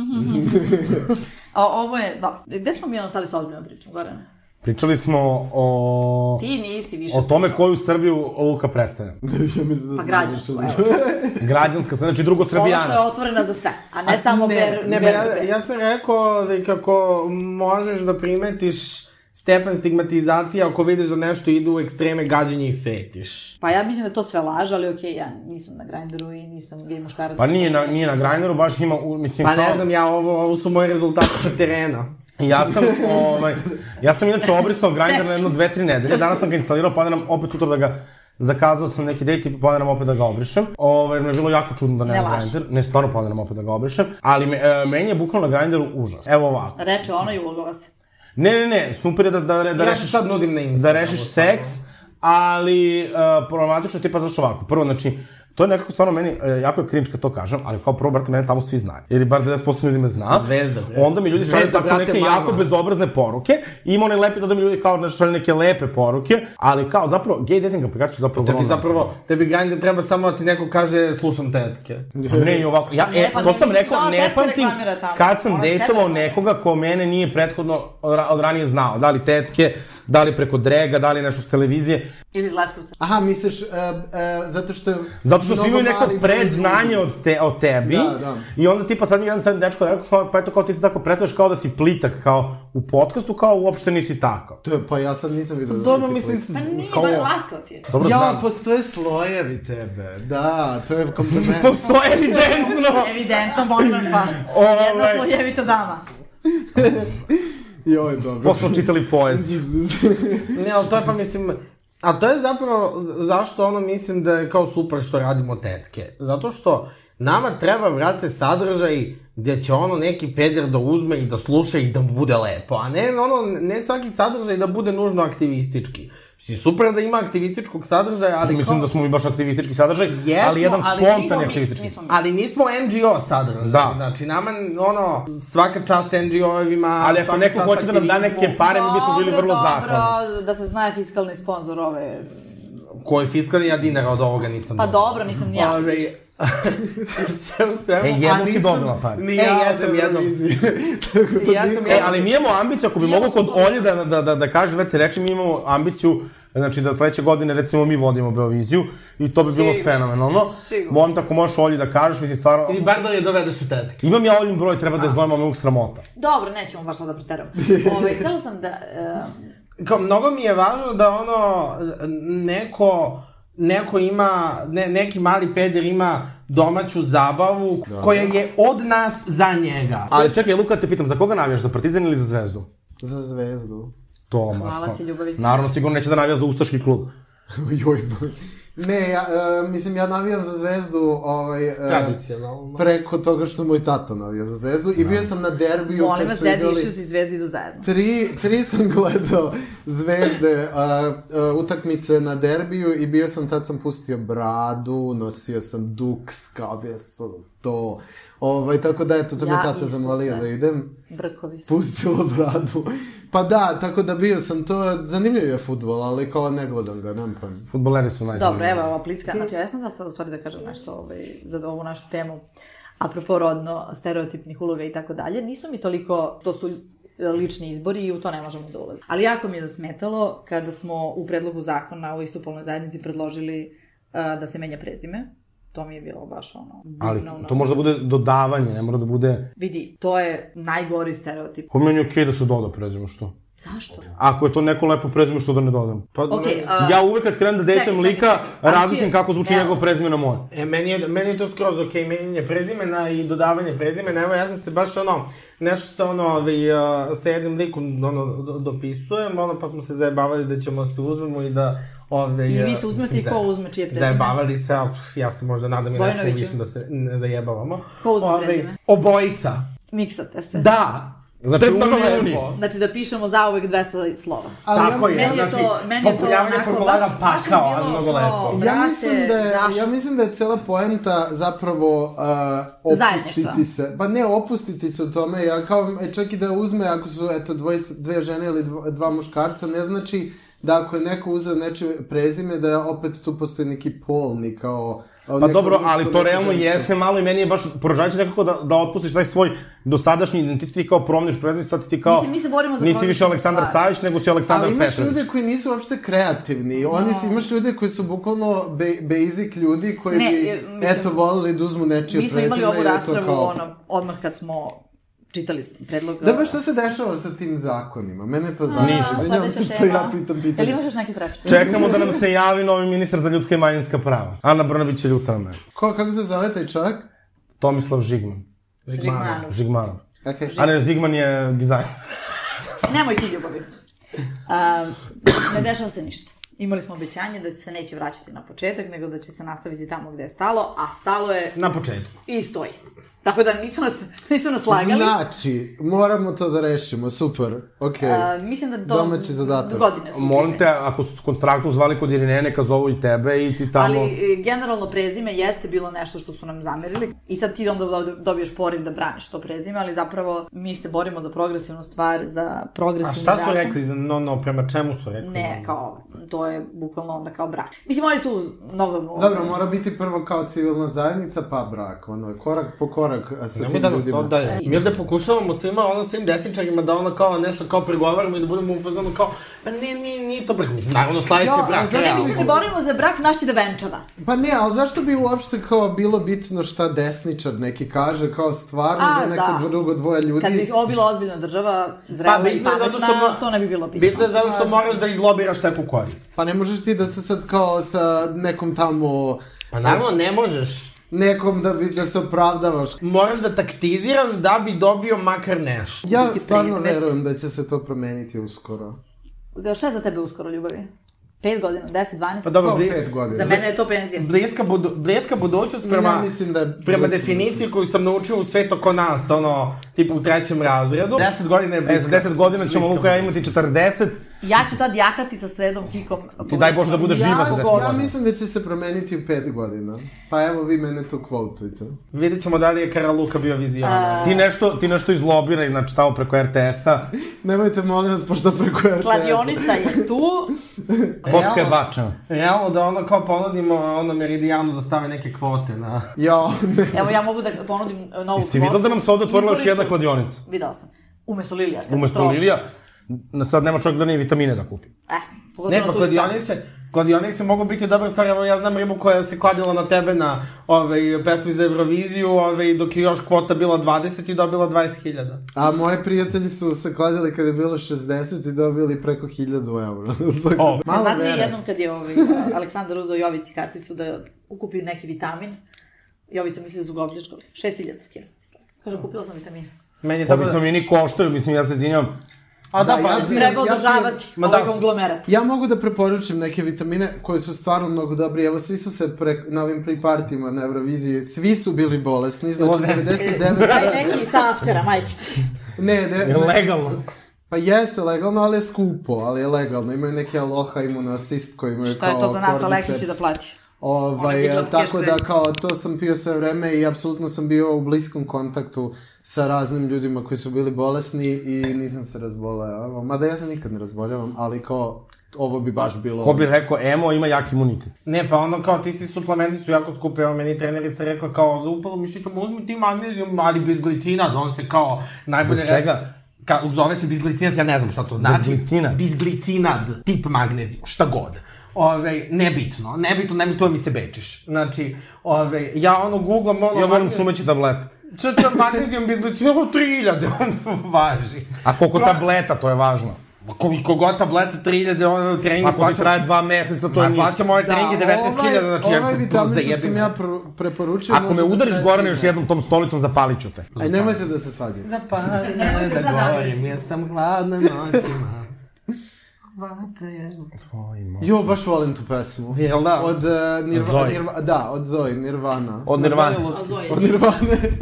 S3: O, ovo je, da, gde smo mi ono stali sa ozbiljnom pričom, Gorane?
S2: Pričali smo o...
S3: Ti nisi više...
S2: O tome koju Srbiju Luka predstavlja.
S5: ja mislim da
S3: Pa
S5: sam
S3: građansko,
S5: završen.
S3: evo.
S2: Građanska, znači drugo
S3: Ono što je
S2: Srbijana.
S3: otvorena za sve, a ne samo ber...
S4: Pa E, Ne, ba, ja, ja sam rekao ovaj, kako možeš da primetiš stepen stigmatizacije ako vidiš da nešto ide u ekstreme gađenje i fetiš.
S3: Pa ja mislim da je to sve laž, ali okej, ja nisam na Grindru i nisam gej muškarac.
S2: Pa nije na, nije na Grindr-u, baš ima, u- mislim,
S4: Pa ne
S2: kao-
S4: znam, ja ovo, ovo su moji rezultati sa terena.
S2: Ja sam, ovaj, ja sam inače obrisao Grindr na jedno dve, tri nedelje, danas sam ga instalirao, planiram opet sutra da ga zakazao sam neki date i planiram opet da ga obrišem. Ovaj, jer mi je bilo jako čudno da
S3: Ne
S2: nemam
S3: laži.
S2: Grindr, ne stvarno planiram opet da ga obrišem, ali me, e, meni je bukvalno na Grindru užas. Evo ovako.
S3: Reče ono i ulogova se.
S2: Ne, ne, ne, super je da, da, da
S4: ja se
S2: rešiš
S4: sad nudim na Instagramu.
S2: da rešiš seks, ali uh, problematično ti pa znaš ovako. Prvo, znači, to je nekako stvarno meni, uh, jako je cringe kad to kažem, ali kao prvo, brate, mene tamo svi znaju. Jer bar 90% ljudi me zna.
S4: Zvezda, bre.
S2: Onda mi ljudi šalju
S4: Zvezda,
S2: tako
S4: brate,
S2: neke
S4: mama.
S2: jako bezobrazne poruke. I ima one lepe, onda mi ljudi kao nešto šalju neke lepe poruke. Ali kao, zapravo, gay dating aplikacije su zapravo...
S4: Tebi
S2: vrlo
S4: Da zapravo, tebi Grindr treba samo da ti neko kaže slušam tetke.
S2: A Ne, i ovako, ja,
S3: Ne,
S2: e,
S3: pa
S2: to
S3: ne,
S2: sam rekao,
S3: da,
S2: ne
S3: tetke
S2: pamtim
S3: reklamira tamo.
S2: kad sam
S3: Ona
S2: dejtovao
S3: sebe-
S2: nekoga ko mene nije prethodno od, od ranije znao. Da li tetke, da li preko drega, da li nešto s televizije.
S3: Ili iz Leskovca.
S5: Aha, misliš, e, e, zato što je...
S2: Zato što svi
S5: mnogo
S2: imaju neko
S5: mali broj
S2: predznanje
S5: ljudi.
S2: od, te, od tebi.
S5: Da, da.
S2: I onda tipa sad mi jedan taj dečko rekao, kao, pa eto kao ti se tako predstavljaš kao da si plitak, kao u podcastu, kao uopšte nisi tako.
S5: To je, pa ja sad nisam vidio da si
S4: Dobro,
S5: ti
S4: mislim,
S5: klinac.
S3: Pa nije,
S2: Kao-
S3: ba, laskao ti je.
S2: Dobro ja, pa
S5: Ja,
S2: znam.
S5: postoje slojevi tebe. Da, to je kompliment.
S2: Postoje evidentno.
S3: Evidentno, molim vas, pa.
S2: Ovaj.
S3: Jedna slojevita dama.
S5: I ovo je dobro.
S2: Posle čitali poeziju.
S4: Ne, ali to je pa mislim... A to je zapravo zašto ono mislim da je kao super što radimo tetke. Zato što nama treba, brate, sadržaj gde će ono neki peder da uzme i da sluša i da mu bude lepo. A ne, ono, ne svaki sadržaj da bude nužno aktivistički. Mislim, super da ima aktivističkog sadržaja, ali
S2: Mislim
S4: kao...
S2: da smo mi baš aktivistički sadržaj,
S4: Jesmo,
S2: ali jedan
S4: ali nismo
S2: spontan
S4: mi-
S2: aktivistički.
S3: Nismo
S4: Ali nismo NGO sadržaj.
S2: Da.
S4: Znači, nama, ono, svaka čast NGO-evima,
S2: Ali ako
S4: svaka
S2: neko
S4: čast
S2: hoće da nam da
S4: aktivizmu.
S2: neke pare, mi bismo bili vrlo zahvalni.
S3: Dobro, da se zna fiskalni sponsor ove...
S4: Koji fiskalni ja dinara od ovoga nisam
S3: Pa
S4: dobio.
S3: dobro, nisam ni ja. Znači,
S4: Ove, sve u svemu.
S2: E,
S4: a
S2: jednom si
S4: nisam-
S2: dobila pare.
S4: Ni E, ja, ja sam jednom.
S5: Tako da
S4: Ja sam
S2: E,
S4: jednom.
S2: ali mi imamo ambiciju, ako bi mogo kod Olje da, da, da, da kaže dve, tri reči, mi imamo ambiciju, znači da sledeće godine recimo mi vodimo Beoviziju i to bi bilo
S3: Sigurno.
S2: fenomenalno.
S3: Sigurno.
S2: Molim te ako možeš Olji da kažeš, mislim stvarno...
S4: Ili bar da je dovedeš u tetke.
S2: Imam ja Oljin broj, treba da je zovem, ali me uvijek sramota.
S3: Dobro, nećemo baš sada preteramo. Ove, htjela sam da... em,
S4: Kao, mnogo mi je važno da ono, neko, neko ima, ne, neki mali peder ima domaću zabavu koja je od nas za njega.
S2: Ali čekaj, Luka, te pitam, za koga navijaš, za Partizan ili za Zvezdu?
S5: Za zvezdu.
S2: To,
S3: Hvala
S2: Marko.
S3: ti, ljubavi.
S2: Naravno, sigurno neće da navija za Ustaški klub.
S5: Joj, boj. Ne, ja, e, mislim, ja navijam za zvezdu ovaj, e,
S4: Tradicionalno.
S5: preko toga što moj tata navija za zvezdu i
S2: Da.
S5: bio sam na derbiju
S3: Molim
S5: kad
S3: vas,
S5: su
S3: Daddy
S5: igrali...
S3: Issues i Zvezdi idu zajedno.
S5: Tri, tri sam gledao zvezde a, a, utakmice na derbiju i bio sam, tad sam pustio bradu, nosio sam duks, kao bio sam to. Ovaj, tako da, eto, to
S3: Ja
S5: me tata
S3: isto
S5: zamolio
S3: sve.
S5: da idem.
S3: Brkovi su.
S5: Pustilo bradu. Pa da, tako da bio sam to, zanimljiv je futbol, ali kao ne gledam ga, nemam pojma.
S2: Futboleri su najzanimljiviji.
S3: Dobro, evo ova plitka. Znači, ja sam da sad, u stvari da kažem nešto ovaj, za ovu našu temu. Apropo rodno, stereotipnih uloga i tako dalje. Nisu mi toliko, to su e, lični izbori i u to ne možemo da ulazimo. Ali jako mi je zasmetalo kada smo u predlogu zakona o istopolnoj zajednici predložili e, da se menja prezime. To mi je bilo baš ono...
S2: Ali
S3: divno, ono.
S2: to može da bude dodavanje, ne mora da bude...
S3: Vidi, to je najgori stereotip.
S2: Po meni je okej da se doda prezime, što?
S3: Zašto?
S2: Ako je to neko lepo prezime, što da ne dodam?
S4: Pa,
S3: Ok, a,
S2: Ja uvek kad krenem da dejtujem
S3: Uh, čekaj,
S2: lika,
S3: čekaj. Ali
S2: razmislim
S3: ti-
S2: kako zvuči
S3: Evo.
S2: njegov prezime na moje.
S4: E, meni je, meni je to skroz okej, okay, menjanje prezimena i dodavanje prezimena, evo ja sam se baš ono, nešto sa ono, ovaj, a, sa jednim likom ono, do- dopisujem, ono, pa smo se zajebavali da ćemo se uzmemo i da, ove,
S3: I vi se uzmete i ko uzme čije prezime?
S4: Zajebavali se, ali pff, ja se možda nadam i nećemo
S3: Vojinoviću.
S4: više da se ne zajebavamo.
S3: Ko uzme
S4: Ovaj,
S3: prezime?
S4: Obojica.
S3: Miksate se.
S4: Da!
S2: Znači,
S4: Treptano
S2: uni, uni.
S4: lepo.
S3: Znači da pišemo zauvek 200 slova.
S5: Ali
S4: Tako je,
S3: meni je to-
S4: znači,
S3: meni je to
S4: popunjavanje
S3: onako
S4: formulara
S3: baš- baš mi je
S4: pakao, ali
S3: bilo
S4: mnogo
S3: kao-
S4: lepo.
S5: Ja
S3: Brate,
S5: mislim, da je,
S3: zašto?
S5: ja mislim da je cela poenta zapravo uh, opustiti
S3: Zajedništva.
S5: se. Pa ne opustiti se u tome, ja kao, e, čak i da uzme ako su eto, dvojica, dve žene ili dva, dva muškarca, ne znači da ako je neko uzeo nečije prezime, da opet tu postoji neki polni kao...
S2: Pa dobro, ali to realno jeste malo i meni je baš poražavajuće nekako da, da otpustiš taj svoj dosadašnji identitet ti kao promeniš prezivnicu, sad ti ti kao...
S3: Mislim, mi se borimo za
S2: Nisi
S3: porodične
S2: više Aleksandar
S3: stvari.
S2: Savić, nego si Aleksandar
S5: Ali imaš
S2: Petrović.
S5: ljude koji nisu uopšte kreativni. Oni su, imaš ljude koji su bukvalno be, basic ljudi koji
S3: Da. Ne,
S5: bi,
S3: e, mislim,
S5: eto, volili da uzmu nečije
S3: Mi smo
S5: prezime.
S3: imali
S5: i
S3: ovu
S5: da to
S3: raspravu
S5: kao-
S3: ono, odmah kad smo čitali predlog.
S5: Da, pa šta se dešava sa tim zakonima? Mene to zanima.
S3: uh,
S2: Ništa.
S5: Izvinjavam se što ja pitam
S3: Da li
S5: pitanje.
S3: imaš još neki trač?
S2: Čekamo da nam se javi novi ministar za ljudska i manjinska prava. Ana Brnović je ljuta na mene.
S5: Ko, kako se zove taj čovjek?
S2: Tomislav Žigman.
S3: Žigmanov.
S2: Žigmanov.
S5: Okay.
S2: A ne, Žigman je dizajn.
S3: Nemoj ti ljubavi. A, ne dešava se ništa. Imali smo obećanje da se neće vraćati na početak, nego da će se nastaviti tamo gde je stalo, a stalo je
S4: Na početku.
S3: i stoji. Tako da nisu nas, nisu nas lagali.
S5: Znači, moramo to da rešimo, super, okej.
S3: A, mislim da do,
S5: Domaći zadatak.
S3: godine su.
S2: Molim
S3: bile.
S2: te, ako su kontraktu zvali kod Irine, neka zovu i tebe i ti tamo...
S3: Ali e, generalno prezime jeste bilo nešto što su nam zamerili i sad ti onda do- dobiješ poriv da braniš to prezime, ali zapravo mi se borimo za progresivnu stvar, za
S4: A
S3: progresivnu
S4: šta su rekli za no no, prema čemu su rekli?
S3: Ne, kao, to je bukvalno onda kao brak. Mislim, oni tu mnogo...
S5: Dobro, mora biti prvo kao civilna zajednica, pa brak, ono je korak po korak a sa
S4: Nemoj
S5: tim
S4: da nas
S5: ljudima.
S4: oddaje. Mi ovde pokušavamo svima, ono svim desničarima da ono kao nešto kao pregovaramo i da budemo u fazonu kao, pa ne, ne, nije to brak. Mislim, naravno sledeći
S5: Ja,
S4: je
S5: a
S4: brak,
S5: zašto
S3: Ne,
S4: realno.
S3: mi se ne borimo za brak, naš će da venčava.
S5: Pa ne, ali zašto bi uopšte kao bilo bitno šta desničar neki kaže, kao stvarno
S3: A,
S5: za neko
S3: da.
S5: drugo dvoje ljudi?
S3: Kad bi ovo bila ozbiljna država, zrela i
S4: bitno je zato
S3: pametna,
S4: što mo-
S3: to ne bi bilo bitno.
S4: Bitno je zato što moraš da izlobiraš neku korist.
S5: Pa ne možeš ti da se sad kao sa nekom tamo,
S4: Pa naravno ne možeš.
S5: nekom da, bi, da se opravdavaš.
S4: Moraš da taktiziraš da bi dobio makar nešto.
S5: Ja
S3: Neki
S5: stvarno
S3: predmet.
S5: verujem da će se to promeniti uskoro.
S3: Da, Šta je za tebe uskoro ljubavi? 5 godina, 10, 12?
S4: Pa dobro,
S5: Pa,
S4: bli-
S5: pet godina.
S3: Za mene je to penzija.
S4: bliska, budu, bliska budućnost prema,
S5: Ja mislim da je
S4: prema
S5: bliska
S4: definiciji
S5: budućnost.
S4: koju sam naučio u svet oko nas, ono, tipa u trećem razredu. 10 godina je
S2: E,
S4: bliska.
S2: za 10 godina ćemo
S4: bliska
S2: Luka i ja imati 40,
S3: Ja ću tad jahati sa sredom kikom.
S2: ti daj Bože da bude živa za 10
S5: Ja
S2: godina.
S5: mislim da će se promeniti u pet godina. Pa evo vi mene tu kvotujte.
S4: Vidjet ćemo da li je Kara Luka bio vizionar.
S2: Ti nešto, ti nešto izlobiraj, znači tamo preko RTS-a,
S5: Nemojte molim vas, pošto preko RTS.
S3: Kladionica je tu.
S2: kocka je bačena.
S4: Realno da ono kao ponudimo ono Meridijanu da stave neke kvote na...
S5: Jo, ne.
S3: Evo ja mogu da ponudim novu kvotu.
S2: Jesi videla da nam se ovde otvorila još
S3: Izbori su-
S2: jedna kladionica?
S3: Videla sam. Umesto Lilija.
S2: Umesto
S3: katastrofa.
S2: Lilija, na sad nema čovjek da ni vitamine da kupi.
S3: Eh, pogotovo
S4: Ne, pa
S3: tu-
S4: kladionice, kladionice mogu biti dobra stvar, evo ja znam ribu koja se kladila na tebe na ovaj, pesmi za Euroviziju, ovaj, dok je još kvota bila 20 i dobila 20.000.
S5: A moje prijatelji su se kladili kada je bilo 60 i dobili preko 1000 eura. Tako da-
S2: Oh.
S4: O.
S3: Ja,
S5: Malo
S3: Znate li
S5: vere.
S3: jednom kad je ovaj, Aleksandar uzao Jovici karticu da ukupi neki vitamin, Jovica misli da su ga opljačkali. 6000 skina. Kaže, kupila sam vitamine.
S4: Meni je
S2: Pa
S4: tako da...
S2: vitamini koštaju, mislim, ja se izvinjam.
S4: A da,
S5: Da,
S4: pa...
S5: ja bi-
S3: Treba
S5: ja-
S3: održavati
S4: Ma
S3: ovaj
S4: da.
S3: konglomerat.
S5: Ja mogu da preporučim neke vitamine koje su stvarno mnogo dobri. Evo, svi su se pre, na ovim pripartima na Euroviziji, svi su bili bolesni, znači
S4: Lozem.
S5: 99...
S3: Daj neki sa aftera, majke ti.
S5: Ne, ne, ne,
S2: Legalno.
S5: Pa jeste legalno, ali je skupo, ali je legalno. Imaju neke aloha imunoasist koji imaju
S3: Šta
S5: kao
S3: je to za nas, Aleksić
S5: cordyceps.
S3: će da plati. Ona je
S5: Ovaj,
S3: digla
S5: e, tako
S3: cash
S5: da
S3: credit.
S5: kao to sam pio sve vreme i apsolutno sam bio u bliskom kontaktu sa raznim ljudima koji su bili bolesni i nisam se razboleo. Mada ja se nikad ne razboljavam, ali kao ovo bi baš bilo...
S2: Ko bi rekao, emo ima jak imunitet.
S4: Ne, pa ono kao ti si suplementi su jako skupe, evo meni je trenerica rekla kao za upalu mišićom uzmi ti magnezijum, ali bez glicina, da on se kao najbolje...
S2: Bez čega?
S4: Ka, zove se bizglicinat, ja ne znam šta to znači.
S2: Bezglicinat?
S4: Bizglicinat, tip magnezijum, šta god. Ove, nebitno, nebitno, nebitno mi se bečiš. Znači, ove, ja ono googlam ono...
S2: Ja moram
S4: magne-
S2: šumeći tablete.
S4: Čo to magnezijum bizglicinat, ovo 3000, on važi.
S2: A koliko
S4: Pro-
S2: tableta, to je važno.
S4: Ma Koliko god tableta 3000, ono trening
S2: Ako ti
S4: plaća...
S2: traje dva meseca, to
S4: Ma
S2: je ništa.
S4: plaća moje treninge 19.000, znači
S5: Da, ovaj,
S4: ja
S5: ovaj
S4: to
S5: vitamin što
S4: zajebim.
S5: sam ja pro- preporučio...
S2: Ako
S5: može
S2: me
S5: da
S2: udariš
S5: traje
S2: Gorane
S5: tri
S2: još jednom
S5: meseca.
S2: tom stolicom, zapalit ću te.
S5: Aj, nemojte da se svađate.
S4: Zapali
S3: Nemojte
S4: me da
S3: sad
S4: govorim, ja sam hladna noćima.
S5: vatra je.
S2: Tvoj moj.
S5: Jo, baš volim tu pesmu.
S4: Jel da?
S5: Od uh, Nirvana,
S2: Zoe.
S5: Nirva, da, od Zoe, Nirvana.
S2: Od Nirvane.
S3: A Zoe,
S5: Od Nirvane.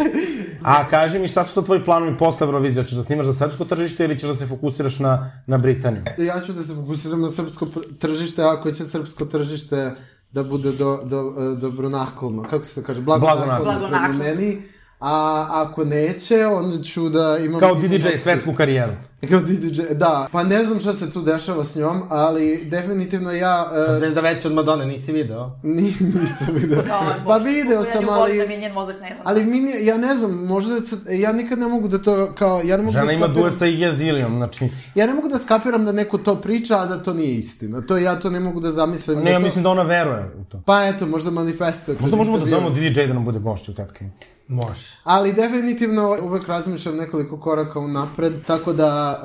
S2: A kaži mi šta su to tvoji planovi posle Eurovizije? Hoćeš da snimaš za srpsko tržište ili ćeš da se fokusiraš na, na Britaniju?
S5: ja ću da se fokusiram na srpsko pr- tržište, ako će srpsko tržište da bude do, do, e, dobronaklonno, kako se to kaže, blagonaklonno,
S3: Blagonaklonno.
S5: prema meni. A ako neće, onda ću da imam...
S2: Kao
S5: i
S2: DJ
S5: promociju.
S2: svetsku karijeru.
S5: Kao DJ, da. Pa ne znam šta se tu dešava s njom, ali definitivno ja... e,
S4: Zvezda veća od Madone, nisi video?
S5: ni, nisam video. pa video sam,
S3: Da
S5: ali...
S3: mi je njen mozak ne
S5: Ali mi, nije- ja ne znam, možda se, ja nikad ne mogu da to, kao, ja ne mogu da
S2: Žena ima
S5: skapiram,
S2: duet sa Iggy Azilijom, znači...
S5: ja ne mogu da skapiram da neko to priča, a da to nije istina. To ja to ne mogu da zamislim. da
S2: Ne, ja
S5: to-
S2: mislim da ona veruje u to.
S5: Pa eto, možda manifesto.
S2: Možda možemo da zovemo DJ da nam bude gošća u tetkama.
S4: Može.
S5: Ali definitivno ovaj, uvek razmišljam nekoliko koraka unapred, tako da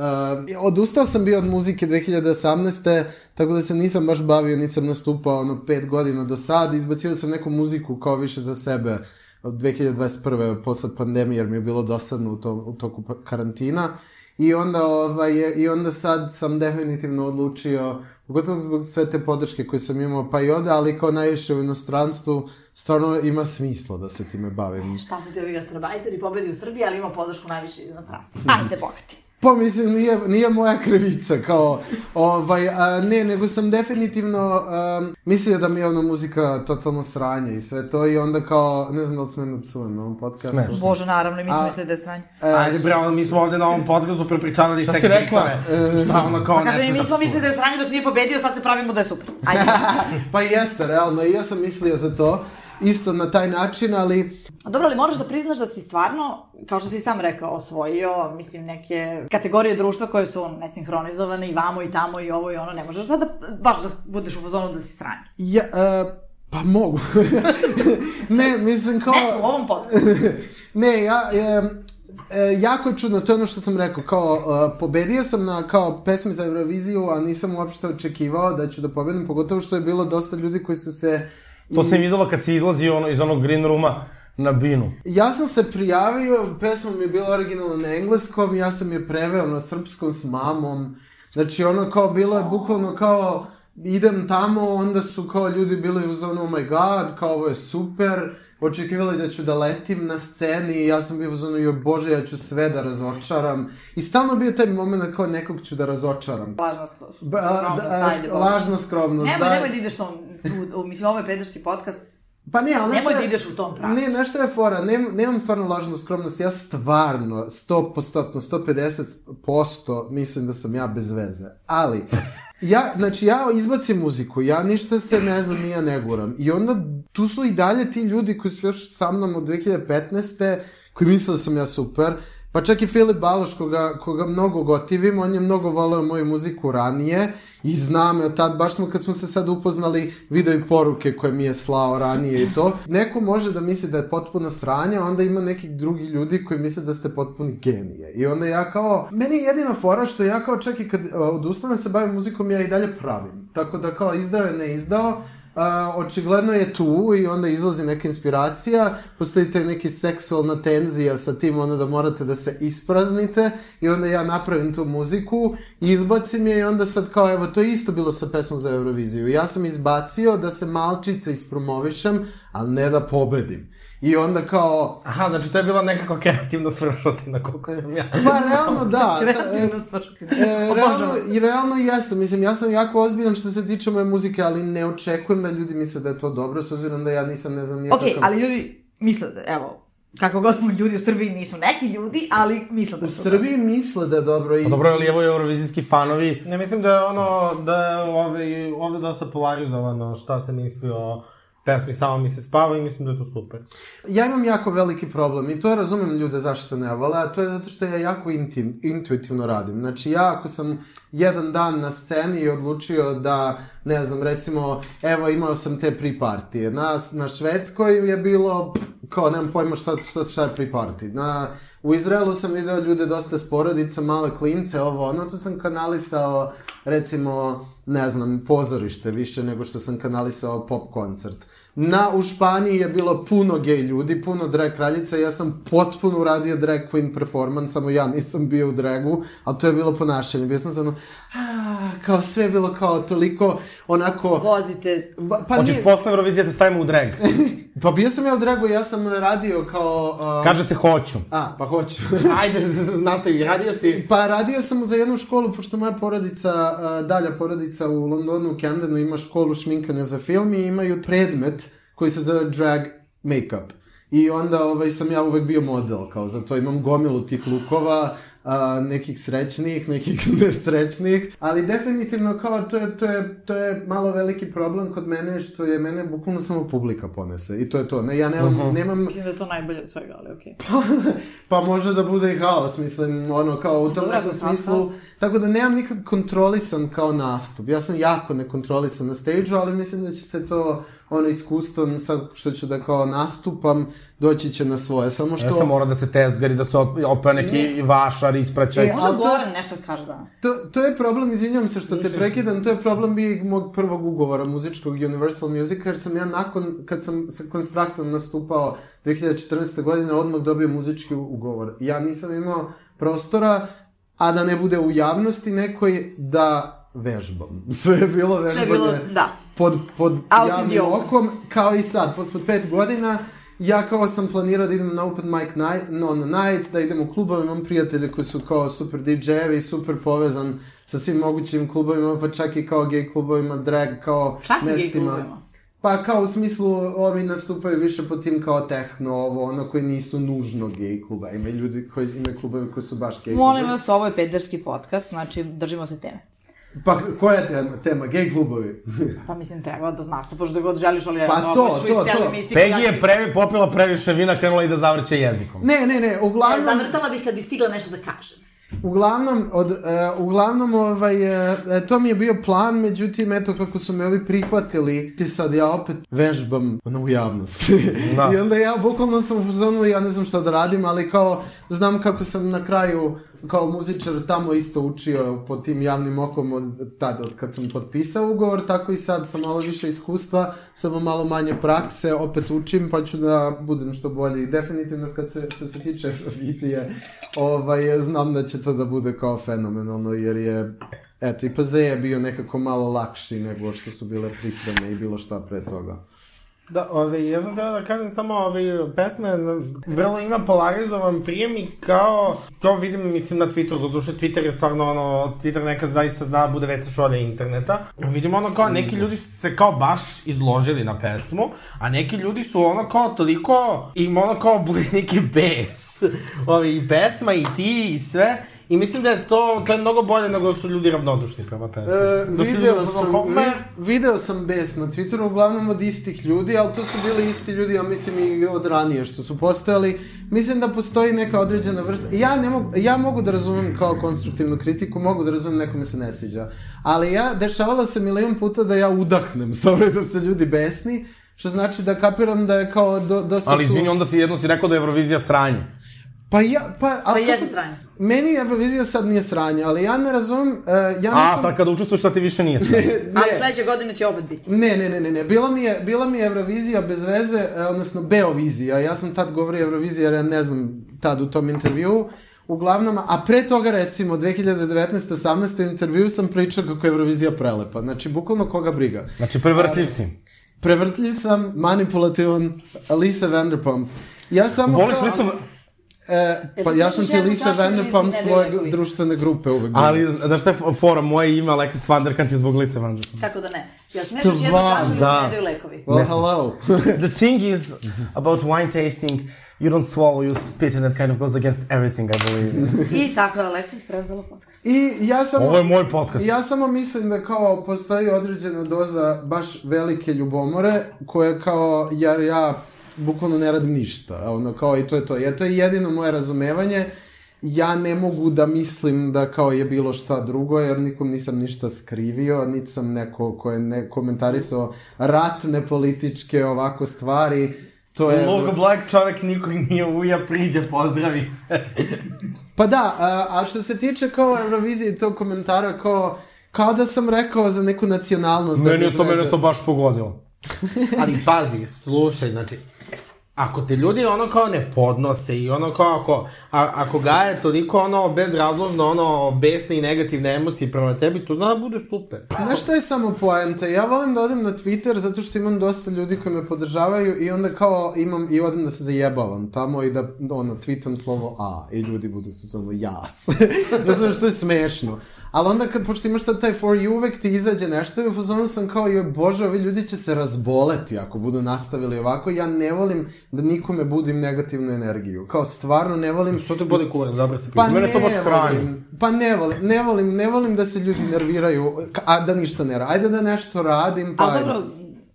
S5: uh, odustao sam bio od muzike 2018. Tako da se nisam baš bavio, niti sam nastupao ono pet godina do sad. Izbacio sam neku muziku kao više za sebe od 2021. posle pandemije jer mi je bilo dosadno u, to, u toku pa- karantina. I onda, ovaj, je- I onda sad sam definitivno odlučio, pogotovo zbog sve te podrške koje sam imao pa i ovde, ali kao najviše u inostranstvu, stvarno ima smisla da se time bavim.
S3: Šta su ti ovi gastrobajteri pobedi da u Srbiji, ali ima podršku najviše iz inostranstva. Ajde, bogati.
S5: Pa mislim, nije, nije moja krivica, kao, ovaj, a, ne, nego sam definitivno um, mislio da mi je ono muzika totalno sranje i sve to i onda kao, ne znam da li smem da psujem na ovom podcastu.
S2: Smeš.
S3: Bože, naravno, i mi smo mislili da je sranje.
S5: E,
S4: Ajde bre, ono, mi smo ovde na ovom podcastu prepričavali
S2: Šta
S4: tek
S2: si rekla?
S4: diktove. Šta ono kao
S3: Pa kažem, i
S4: ne
S3: mi smo
S4: smeš da
S3: mislili da je sranje dok nije pobedio, sad se pravimo da je super. Ajde.
S5: Pa jeste, realno, i ja sam mislio za to, isto na taj način, ali
S3: A Dobro, ali moraš da priznaš da si stvarno, kao što si sam rekao, osvojio, mislim, neke kategorije društva koje su ono, nesinhronizovane i vamo i tamo i ovo i ono, ne možeš da, da baš da budeš u fazonu da si sranje.
S5: ja, e, pa mogu. ne, mislim kao...
S3: Ne, u ovom podcastu.
S5: ne, ja, e, e, jako je čudno, to je ono što sam rekao, kao, e, pobedio sam na, kao, pesmi za Euroviziju, a nisam uopšte očekivao da ću da pobedim, pogotovo što je bilo dosta ljudi koji su se...
S2: To sam videla kad si izlazi ono, iz onog green rooma na binu.
S5: Ja sam se prijavio, pesma mi je bila originalna na engleskom, ja sam je preveo na srpskom s mamom, znači ono kao, bilo je bukvalno kao, idem tamo, onda su kao ljudi bili u zonu, oh my god, kao ovo je super, očekivali da ću da letim na sceni i ja sam bio u zonu, joj bože, ja ću sve da razočaram. I stalno je bio taj moment kao nekog ću da razočaram.
S3: Lažno to.
S5: Ba, a, da, a, s- lažna skromnost.
S3: Nemoj,
S5: da.
S3: nemoj da ideš tom, u, u, mislim, ovo je pederski podcast,
S5: Pa ne, ali znaš
S3: nemoj
S5: šta-
S3: da ideš u tom pravcu.
S5: Ne, znaš šta je fora, Nem, nemam stvarno lažnu skromnost, ja stvarno 100%, 150% mislim da sam ja bez veze, ali... Ja, znači, ja izbacim muziku, ja ništa se ne znam, ni ja ne guram. I onda tu su i dalje ti ljudi koji su još sa mnom od 2015. koji misle da sam ja super. Pa čak i Filip Baloš, koga, koga mnogo gotivim, on je mnogo voleo moju muziku ranije i znam je od tad, baš smo kad smo se sad upoznali, video i poruke koje mi je slao ranije i to. Neko može da misli da je potpuno sranje, a onda ima nekih drugi ljudi koji misle da ste potpuni genije. I onda ja kao, meni je jedina fora što ja kao čak i kad uh, odustanem da se bavim muzikom, ja i dalje pravim. Tako da kao izdao je, ne izdao, a, očigledno je tu i onda izlazi neka inspiracija, postoji taj neki seksualna tenzija sa tim onda da morate da se ispraznite i onda ja napravim tu muziku, izbacim je i onda sad kao evo to je isto bilo sa pesmom za Euroviziju. Ja sam izbacio da se malčice ispromovišem, ali ne da pobedim. I onda kao,
S4: Aha, znači to je bila nekako kreativna svršotina, koliko sam ja.
S5: pa realno da, ta- e,
S3: Kreativno svršiti.
S5: E, realno, I realno jeste, mislim, ja sam jako ozbiljan što se tiče moje muzike, ali ne očekujem da ljudi misle da je to dobro, s obzirom da ja nisam, ne znam, nije
S3: Ok, ali ljudi misle da, evo, kako god mu ljudi u Srbiji nisu neki ljudi, ali misle da
S5: U
S3: su.
S5: Srbiji misle da je dobro i...
S2: Pa dobro, ali evo eurovizijski fanovi
S4: Ne mislim da je ono, da je ovde, ovde dosta polarizovano šta se misli o pesmi Samo mi se spava i mislim da je to super.
S5: Ja imam jako veliki problem i to ja razumem ljude zašto ne vole, a to je zato što ja jako inti, intuitivno radim. Znači ja ako sam jedan dan na sceni i odlučio da, ne znam, recimo, evo imao sam te pre partije. Na, na Švedskoj je bilo, pff, kao nemam pojma šta, šta, šta je pre party. Na, u Izraelu sam video ljude dosta s porodicom, male klince, ovo ono, tu sam kanalisao, recimo, ne znam, pozorište više nego što sam kanalisao pop koncert. Na, u Španiji je bilo puno gej ljudi, puno drag kraljica, ja sam potpuno uradio drag queen performance, samo ja nisam bio u dragu, ali to je bilo ponašanje, bio sam samo, "Ah, ah, kao sve je bilo kao toliko onako...
S3: Vozite,
S5: Va- Pa,
S2: Hoćeš
S5: nije,
S2: posle Eurovizije da stavimo u drag.
S5: pa bio sam ja u Dragu, ja sam radio kao... a,
S2: Kaže se hoću.
S5: A, pa hoću.
S4: Ajde, nastavi, radio si.
S5: Pa radio sam za jednu školu, pošto moja porodica, a, dalja porodica u Londonu, u Camdenu, ima školu šminkanja za film i imaju predmet koji se zove drag makeup. I onda ovaj, sam ja uvek bio model, kao zato imam gomilu tih lukova, a, nekih srećnih, nekih nesrećnih, ali definitivno kao to je, to, je, to je malo veliki problem kod mene što je mene bukvalno samo publika ponese i to je to. Ne, ja nemam, nemam
S3: mislim da je to najbolje od svega, ali okej.
S5: Pa može da bude i haos, mislim, ono, kao u tom
S3: Dobro,
S5: nekom
S3: ako je
S5: smislu.
S3: haos.
S5: Tako da nemam nikad kontrolisan kao nastup. Ja sam jako nekontrolisan na stage ali mislim da će se to, ono, iskustvom, sad što ću da kao nastupam, doći će na svoje. Samo
S2: Što? Jeste
S5: što...
S2: mora da se tezgari, da se op- opere neki vašar ispraćaj.
S5: E,
S3: Možda
S5: ali to-
S3: Goran nešto kaže danas.
S5: To, to je problem, izvinjam se što te prekidam, to je problem i mog prvog ugovora muzičkog Universal Music, jer sam ja nakon, kad sam sa Constructom nastupao 2014. godine, odmah dobio muzički u- ugovor. Ja nisam imao prostora, a da ne bude u javnosti nekoj, da vežbam. Sve je bilo
S3: Sve je
S5: vežbanje
S3: bilo, da.
S5: pod, pod
S3: Out in the
S5: javnim
S3: open.
S5: okom, kao i sad, posle pet godina, ja kao sam planirao da idem na open mic night, no, na night, da idem u klubove, imam prijatelje koji su kao super DJ-evi, i super povezan sa svim mogućim klubovima, pa čak i kao gay klubovima, drag, kao
S3: Čak i gej
S5: mestima.
S3: klubovima?
S5: Pa kao u smislu, ovi nastupaju više po tim kao tehno, ovo, ono koji nisu nužno gay kluba. Ima ljudi koji imaju klubove koji su baš gay klubovi.
S3: Molim vas, ovo je pederski podcast, znači držimo se teme.
S5: Pa koja je tema? tema? Gay klubovi.
S3: Pa mislim, treba da nastupaš da god želiš, ali ja
S5: Pa
S3: ne
S5: to,
S3: obraću i
S5: to,
S3: cijelu
S5: to.
S3: mistiku,
S2: Peggy
S3: ja-
S2: je previ, popila previše vina, krenula i da zavrće jezikom.
S5: Ne, ne, ne,
S6: Ja
S5: uglavnom...
S6: zavrtala bih kad bi stigla nešto da kažem.
S5: Uglavnom, od, uh, uglavnom ovaj, uh, to mi je bio plan, međutim, eto kako su me ovi prihvatili, ti sad ja opet vežbam ono, u javnosti.
S2: Da.
S5: I onda ja bukvalno sam u fazonu, ja ne znam šta da radim, ali kao, znam kako sam na kraju kao muzičar tamo isto učio po tim javnim okom od tada, od kad sam potpisao ugovor, tako i sad sa malo više iskustva, samo malo manje prakse, opet učim pa ću da budem što bolji. Definitivno kad se, što se tiče Eurovizije, ovaj, znam da će to da bude kao fenomenalno, jer je Eto, i PZ je bio nekako malo lakši nego što su bile pripreme i bilo šta pre toga.
S4: Da, ove, ja sam teo da kažem samo ove pesme, n- vrlo ima polarizovan prijem i kao, to vidim mislim na Twitteru, doduše Twitter je stvarno ono, Twitter nekad zaista zna da bude veća šolja interneta. Vidim ono kao, neki
S5: Mhm.
S4: ljudi su se kao baš izložili na pesmu, a neki ljudi su ono kao toliko, im ono kao bude neki bes. Ove, i pesma i ti i sve. I mislim da je to, to je mnogo bolje nego da su ljudi ravnodušni prema pesmi.
S5: E,
S4: da su ljudi
S5: video,
S4: ono
S5: sam,
S4: kao, "Me,
S5: vi- video sam bes na Twitteru, uglavnom od istih ljudi, ali to su bili isti ljudi, ja mislim i od ranije što su postojali. Mislim da postoji neka određena vrsta, ja, ne mogu, ja mogu da razumem kao konstruktivnu kritiku, mogu da razumem nekome se ne sviđa, ali ja, dešavalo se milion puta da ja udahnem sa ove da se ljudi besni, što znači da kapiram da je kao do, dosta
S2: Ali
S5: tu-
S2: izvini, onda si jedno si rekao da je Eurovizija sranje.
S5: Pa ja, pa...
S6: Pa
S5: ali
S6: jeste
S5: kako-
S6: sranje.
S5: Meni Eurovizija sad nije sranje, ali ja ne razumem, e, ja
S2: A,
S5: nisam...
S2: sad kada učestvuješ, šta ti više nije sranje.
S3: Ali sledeće godine će opet biti.
S5: Ne, ne, ne, ne, ne. Bila mi je, bila mi je Eurovizija bez veze, e, odnosno Beovizija. Ja sam tad govorio Eurovizija jer ja ne znam tad u tom intervjuu. Uglavnom, a pre toga recimo 2019-18. u intervju sam pričao kako je Eurovizija prelepa. Znači, bukvalno koga briga.
S2: Znači, prevrtljiv si.
S5: Prevrtljiv sam, manipulativan, Lisa Vanderpump. Ja samo...
S2: Voliš
S5: kao-
S2: li su...
S5: E, pa
S6: Jel
S5: ja
S6: ti
S5: sam
S6: slušaš
S5: ti
S6: jednu
S5: Lisa
S6: čašu ili
S5: Vanderpump
S6: ne bi
S5: svoje
S6: nekoliko?
S5: društvene grupe uvek. bila.
S2: Ali, znaš šta je f- fora? Moje ime Alexis Vanderkant je zbog Lise Vanderkant.
S6: Kako da ne? Ja smešaš jednu
S5: Stvarno,
S6: čašu i
S2: da.
S6: da. ne daju lekovi.
S5: Well, hello.
S2: The thing is about wine tasting, you don't swallow, you spit and that kind of goes against everything, I believe.
S6: I tako je Aleksis preuzela podcast.
S5: I ja sam...
S2: Ovo je moj podcast.
S5: Ja samo mislim da kao postoji određena doza baš velike ljubomore koja kao, jer ja bukvalno ne radim ništa, a ono kao i to je to. Ja, to je jedino moje razumevanje. Ja ne mogu da mislim da kao je bilo šta drugo, jer nikom nisam ništa skrivio, niti sam neko ko je ne komentarisao ratne političke ovako stvari. To je...
S4: Logo Black čovek nikog nije uja, priđe, pozdravi se.
S5: Pa da, a, a što se tiče kao Eurovizije i tog komentara kao kao da sam rekao za neku nacionalnost. da
S2: Meni je
S5: bez
S2: to, meni
S5: veze.
S2: je to baš pogodilo.
S4: Ali pazi, slušaj, znači, ako te ljudi ono kao ne podnose i ono kao ako, a, ako ga je toliko ono bezrazložno ono besne i negativne emocije prema tebi, to zna da bude super.
S5: Znaš šta je samo poenta? Ja volim da odem na Twitter zato što imam dosta ljudi koji me podržavaju i onda kao imam i odem da se zajebavam tamo i da ono, tweetam slovo A i ljudi budu ono jas. Razumiješ, što je smešno. Ali onda kad, pošto imaš sad taj for you, uvek ti izađe nešto i u fazonu sam kao, joj bože, ovi ljudi će se razboleti ako budu nastavili ovako. Ja ne volim da nikome budim negativnu energiju. Kao, stvarno ne volim
S4: Što te boli kurac, dobro se
S5: pa
S4: pitam.
S5: ne,
S2: Mene to baš hrani.
S5: volim, pa ne volim, ne volim, ne volim da se ljudi nerviraju, ka- a da ništa ne radim. Ajde da nešto radim, pa...
S3: Ali
S5: ajde.
S3: dobro,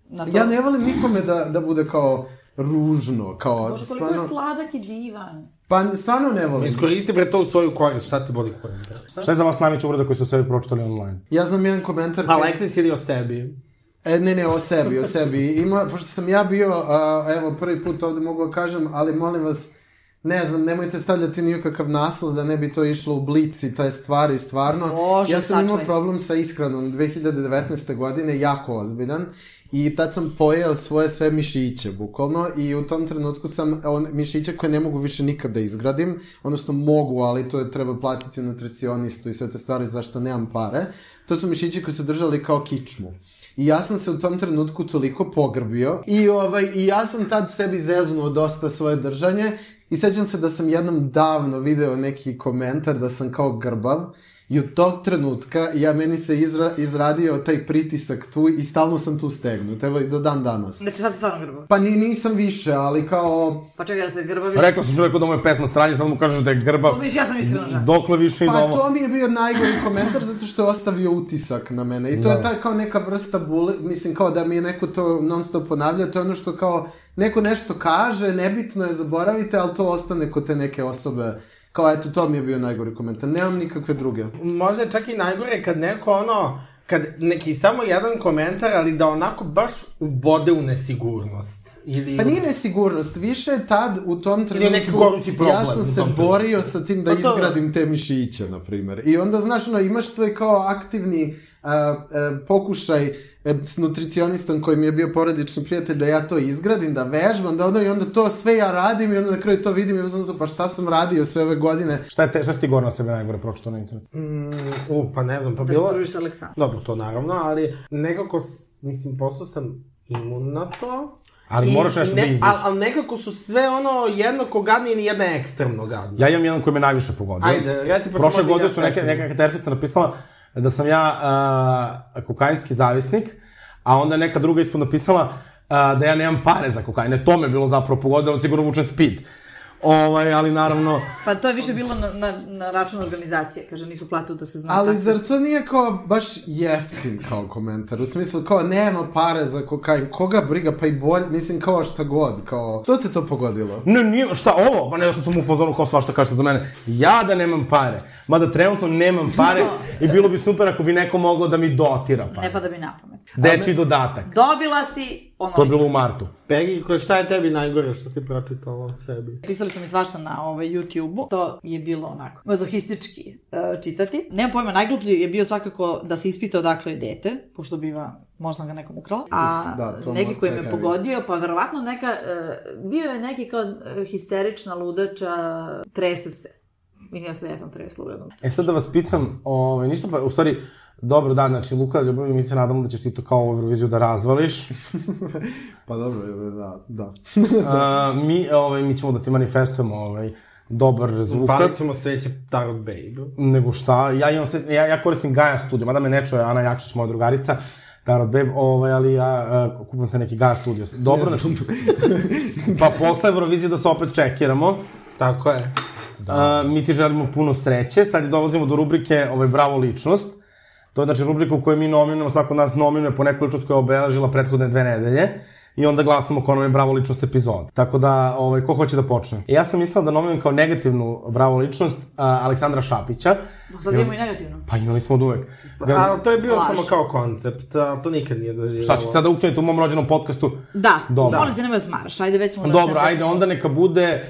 S3: na to...
S5: Ja ne volim nikome da, da bude kao ružno, kao
S3: Bože, koliko je
S5: stvarno,
S3: sladak i divan.
S5: pa stvarno ne volim.
S4: Iskoristi bre to u svoju korist, šta te boli kurac? bre?
S2: Šta je za vas najveća uvreda koju su sebi pročitali online?
S5: Ja znam jedan komentar, koji-
S4: Alexis ili o sebi?
S5: e, ne ne, o sebi, o sebi, ima, pošto sam ja bio, a, evo prvi put ovde mogu da kažem, ali molim vas, ne znam, nemojte stavljati nikakav naslov da ne bi to išlo u blici, taj stvari, stvarno.
S3: Bože,
S5: ja sam imao
S3: sačuvaj.
S5: problem sa ishranom 2019. godine, jako ozbiljan. I tad sam pojeo svoje sve mišiće, bukvalno, i u tom trenutku sam on, mišiće koje ne mogu više nikad da izgradim, odnosno mogu, ali to je treba platiti nutricionistu i sve te stvari zašto nemam pare. To su mišići koji su držali kao kičmu. I ja sam se u tom trenutku toliko pogrbio i, ovaj, i ja sam tad sebi zeznuo dosta svoje držanje i sećam se da sam jednom davno video neki komentar da sam kao grbav I od tog trenutka ja meni se izra, izradio taj pritisak tu i stalno sam tu stegnut, evo i do dan danas.
S3: Znači, sad si stvarno grbav.
S5: Pa ni, nisam više, ali kao...
S3: Pa čekaj, da se grbavi...
S2: Rekao sam čoveku da mu je pesma stranje, sad mu kažeš da je grbav.
S3: To vidiš, ja sam iskreno žena.
S2: Dokle više i
S5: Pa
S2: do ovo.
S5: to mi je bio najgori komentar zato što je ostavio utisak na mene i to je ta kao neka vrsta bule, mislim kao da mi je neko to non stop ponavlja, to je ono što kao neko nešto kaže, nebitno je, zaboravite, ali to ostane kod te neke osobe. Kao eto, to mi je bio najgori komentar, nemam nikakve druge.
S4: možda je čak i najgore kad neko ono, kad neki samo jedan komentar, ali da onako baš ubode u nesigurnost. Ili,
S5: Pa nije nesigurnost, više je tad u tom trenutku...
S4: je neki gorući problem
S5: Ja
S4: u
S5: sam
S4: tom
S5: se
S4: trenutku.
S5: borio sa tim da
S4: Pa to-
S5: izgradim te mišiće, na primjer. I onda, znaš, ono, imaš tvoj kao aktivni a, a, pokušaj e, s nutricionistom koji mi je bio porodični prijatelj da ja to izgradim, da vežbam, da onda i onda to sve ja radim i onda na kraju to vidim i uzmem se, pa šta sam radio sve ove godine?
S2: Šta, je te, šta si ti gore na sebe najgore pročitao na internetu?
S4: Mm, u, pa ne znam, pa
S3: Da se
S4: bilo...
S3: družiš sa Aleksandrom.
S4: Dobro, to naravno, ali nekako, s- mislim, postao sam imun na to.
S2: Ali moraš nešto da izdiš.
S4: Ali al nekako su sve ono jednako gadne ili jedna ekstremno gadne.
S2: Ja imam jedan koji me najviše pogodio.
S4: Ajde, reci, pa sam
S2: Prošle
S4: možda i
S2: godine
S4: ja
S2: su neke,
S4: setim.
S2: neka katerfica napisala da sam ja uh, kokainski zavisnik, a onda je neka druga ispod napisala uh, da ja nemam pare za kokaine. To me bilo zapravo pogodilo, on sigurno vučem speed. Ovaj, ali naravno,
S3: Pa to je više bilo na, na, na račun organizacije, kaže, nisu platu da se zna
S5: Ali
S3: tako.
S5: zar to nije kao baš jeftin kao komentar? U smislu kao nema pare za kokain, koga briga, pa i bolje, mislim kao šta god, kao... Što te to pogodilo?
S2: ne, nije, šta ovo? Pa ne, ja sam u fazonu kao svašta kažete za mene. Ja da nemam pare. Mada trenutno nemam pare i bilo bi super ako bi neko mogao da mi dotira pare.
S3: Ne pada mi na pamet.
S2: Deči dodatak.
S3: Dobila si ono...
S2: To je bilo u martu.
S4: Pegi, ko, šta je tebi najgore što si pročitala o sebi?
S3: Pisali su mi svašta na ovaj, YouTube-u. To je bilo onako mazohistički e, čitati. Nemam pojma, najgluplji je bio svakako da se ispita odakle je dete, pošto biva, možda sam ga nekom ukrala. A
S5: Da, to
S3: neki
S5: mora-
S3: koji me
S5: čekaj,
S3: pogodio, pa verovatno neka, e, bio je neki kao e, histerična ludača, trese se. I ja se, ja sam tresla u jednom.
S2: E sad da vas pitam, ovaj, ništa pa, u stvari, dobro da, znači Luka, ljubavi, mi se nadamo da ćeš ti to kao ovu Euroviziju da razvališ.
S5: Pa dobro, da, da.
S2: A, mi, ovaj, mi ćemo da ti manifestujemo ovaj, dobar rezultat.
S4: Upalit ćemo sveće Tarot Babe.
S2: Nego šta, ja, imam sve, ja, ja koristim Gaja Studio, mada me ne čuje Ana Jakšić, moja drugarica, Tarot Babe, ovaj, ali ja uh, kupim te neki Gaja Studio. Dobro, znači, pa posle Eurovizije da se opet čekiramo.
S4: Tako je.
S2: Da. A, mi ti želimo puno sreće. Sad dolazimo do rubrike ovaj, Bravo ličnost. To je znači rubrika u kojoj mi nominujemo, svako od nas nominuje po neku ličnost koja je obeležila prethodne dve nedelje i onda glasamo ko nam je Bravo ličnost epizod. Tako da, ovaj, ko hoće da počne? E, ja sam mislila da nominujem kao negativnu Bravo ličnost a, Aleksandra Šapića.
S3: Sad imamo i negativno.
S2: Pa imali smo od uvek.
S3: Pa,
S4: Da, ali to je bilo
S3: Laž.
S4: samo kao koncept, a to nikad nije zaživjelo.
S2: Šta ćete sada ukinuti u mom rođenom podcastu?
S3: Da,
S2: Dobro.
S3: molim te nemoj da smaraš, ajde već smo... na
S2: Dobro,
S3: sedam-
S2: ajde, onda neka bude...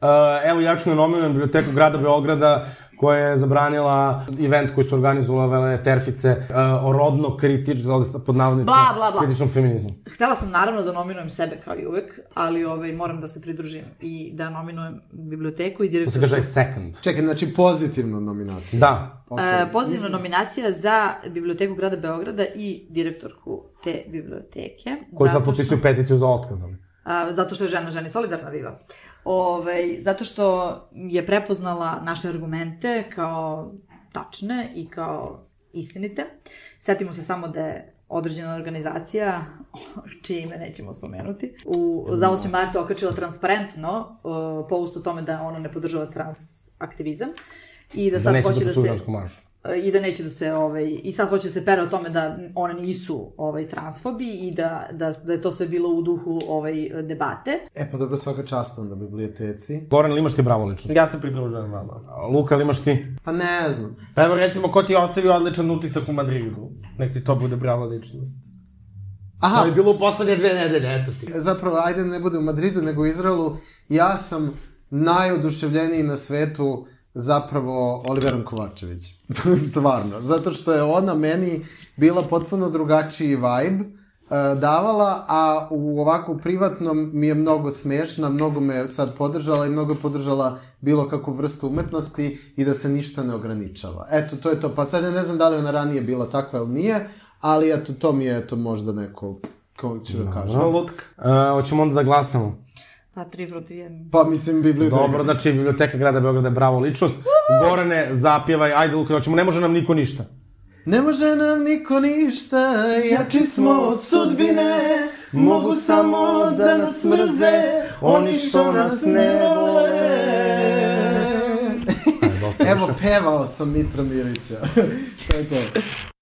S2: Uh, evo, ja ću da nominujem biblioteku grada Beograda koja je zabranila event koji su organizovala terfice uh, o rodno kritič, da pod navodnicima,
S3: Bla, bla, bla.
S2: kritičnom feminizmu.
S3: Htela sam naravno da nominujem sebe kao i uvek, ali ovaj, moram da se pridružim i da nominujem biblioteku i
S2: To se
S3: direktora.
S2: kaže second.
S5: Čekaj, znači pozitivna nominacija.
S2: Da.
S5: Okay.
S3: E, pozitivna nominacija za biblioteku grada Beograda i direktorku te biblioteke.
S2: Koji sad
S3: Zato što-
S2: potpisuju peticiju za otkazom.
S3: A, zato što je žena ženi solidarna viva. Ove, zato što je prepoznala naše argumente kao tačne i kao istinite. Setimo se samo da je određena organizacija, čije ime nećemo spomenuti, u, za 8. marta okačila transparentno uh, post o tome da ona ne podržava trans aktivizam i da
S2: Da
S3: sad
S2: neće
S3: hoće
S2: biti
S3: da se
S2: tužansku maršu.
S3: i da neće da se ovaj i sad hoće da se pere o tome da one nisu ovaj transfobi i da, da, da je to sve bilo u duhu ovaj debate.
S5: E pa dobro, svaka čast onda biblioteci.
S2: Goran, ili imaš ti bravo ličnost?
S4: Ja se pridružujem vama.
S2: Luka, ili imaš ti?
S5: Pa ne znam.
S4: Evo recimo, ko ti je ostavio odličan utisak u Madridu? Nek ti to bude brava ličnost.
S5: Aha,
S4: To je bilo u poslednje dve nedelje, eto ti.
S5: E, zapravo, ajde ne bude u Madridu, nego u Izraelu, ja sam najoduševljeniji na svetu zapravo Oliverom Kovačević. Stvarno. Zato što je ona meni bila potpuno drugačiji vibe e, davala, a u ovako privatnom mi je mnogo smešna, mnogo me sad podržala i mnogo je podržala bilo kakvu vrstu umetnosti i da se ništa ne ograničava. Eto, to je to. Pa sad ja ne znam da li je ona ranije bila takva ili nije, ali eto, to mi je eto, možda neko, ko ću da kažem.
S4: Lutka.
S2: E, hoćemo onda da glasamo.
S3: Pa tri protiv jedan.
S5: Pa mislim biblioteka.
S2: Dobro, znači biblioteka grada Beograda je bravo ličnost. Gorane, zapjevaj, ajde Luka, hoćemo, ne može nam niko ništa.
S5: Ne može nam niko ništa, da- jači smo od sudbine, mogu samo da nas mrze, oni što nas ne vole.
S2: Ajde, dosta
S5: Evo,
S2: više.
S5: pevao sam Mitra Mirića. to je to.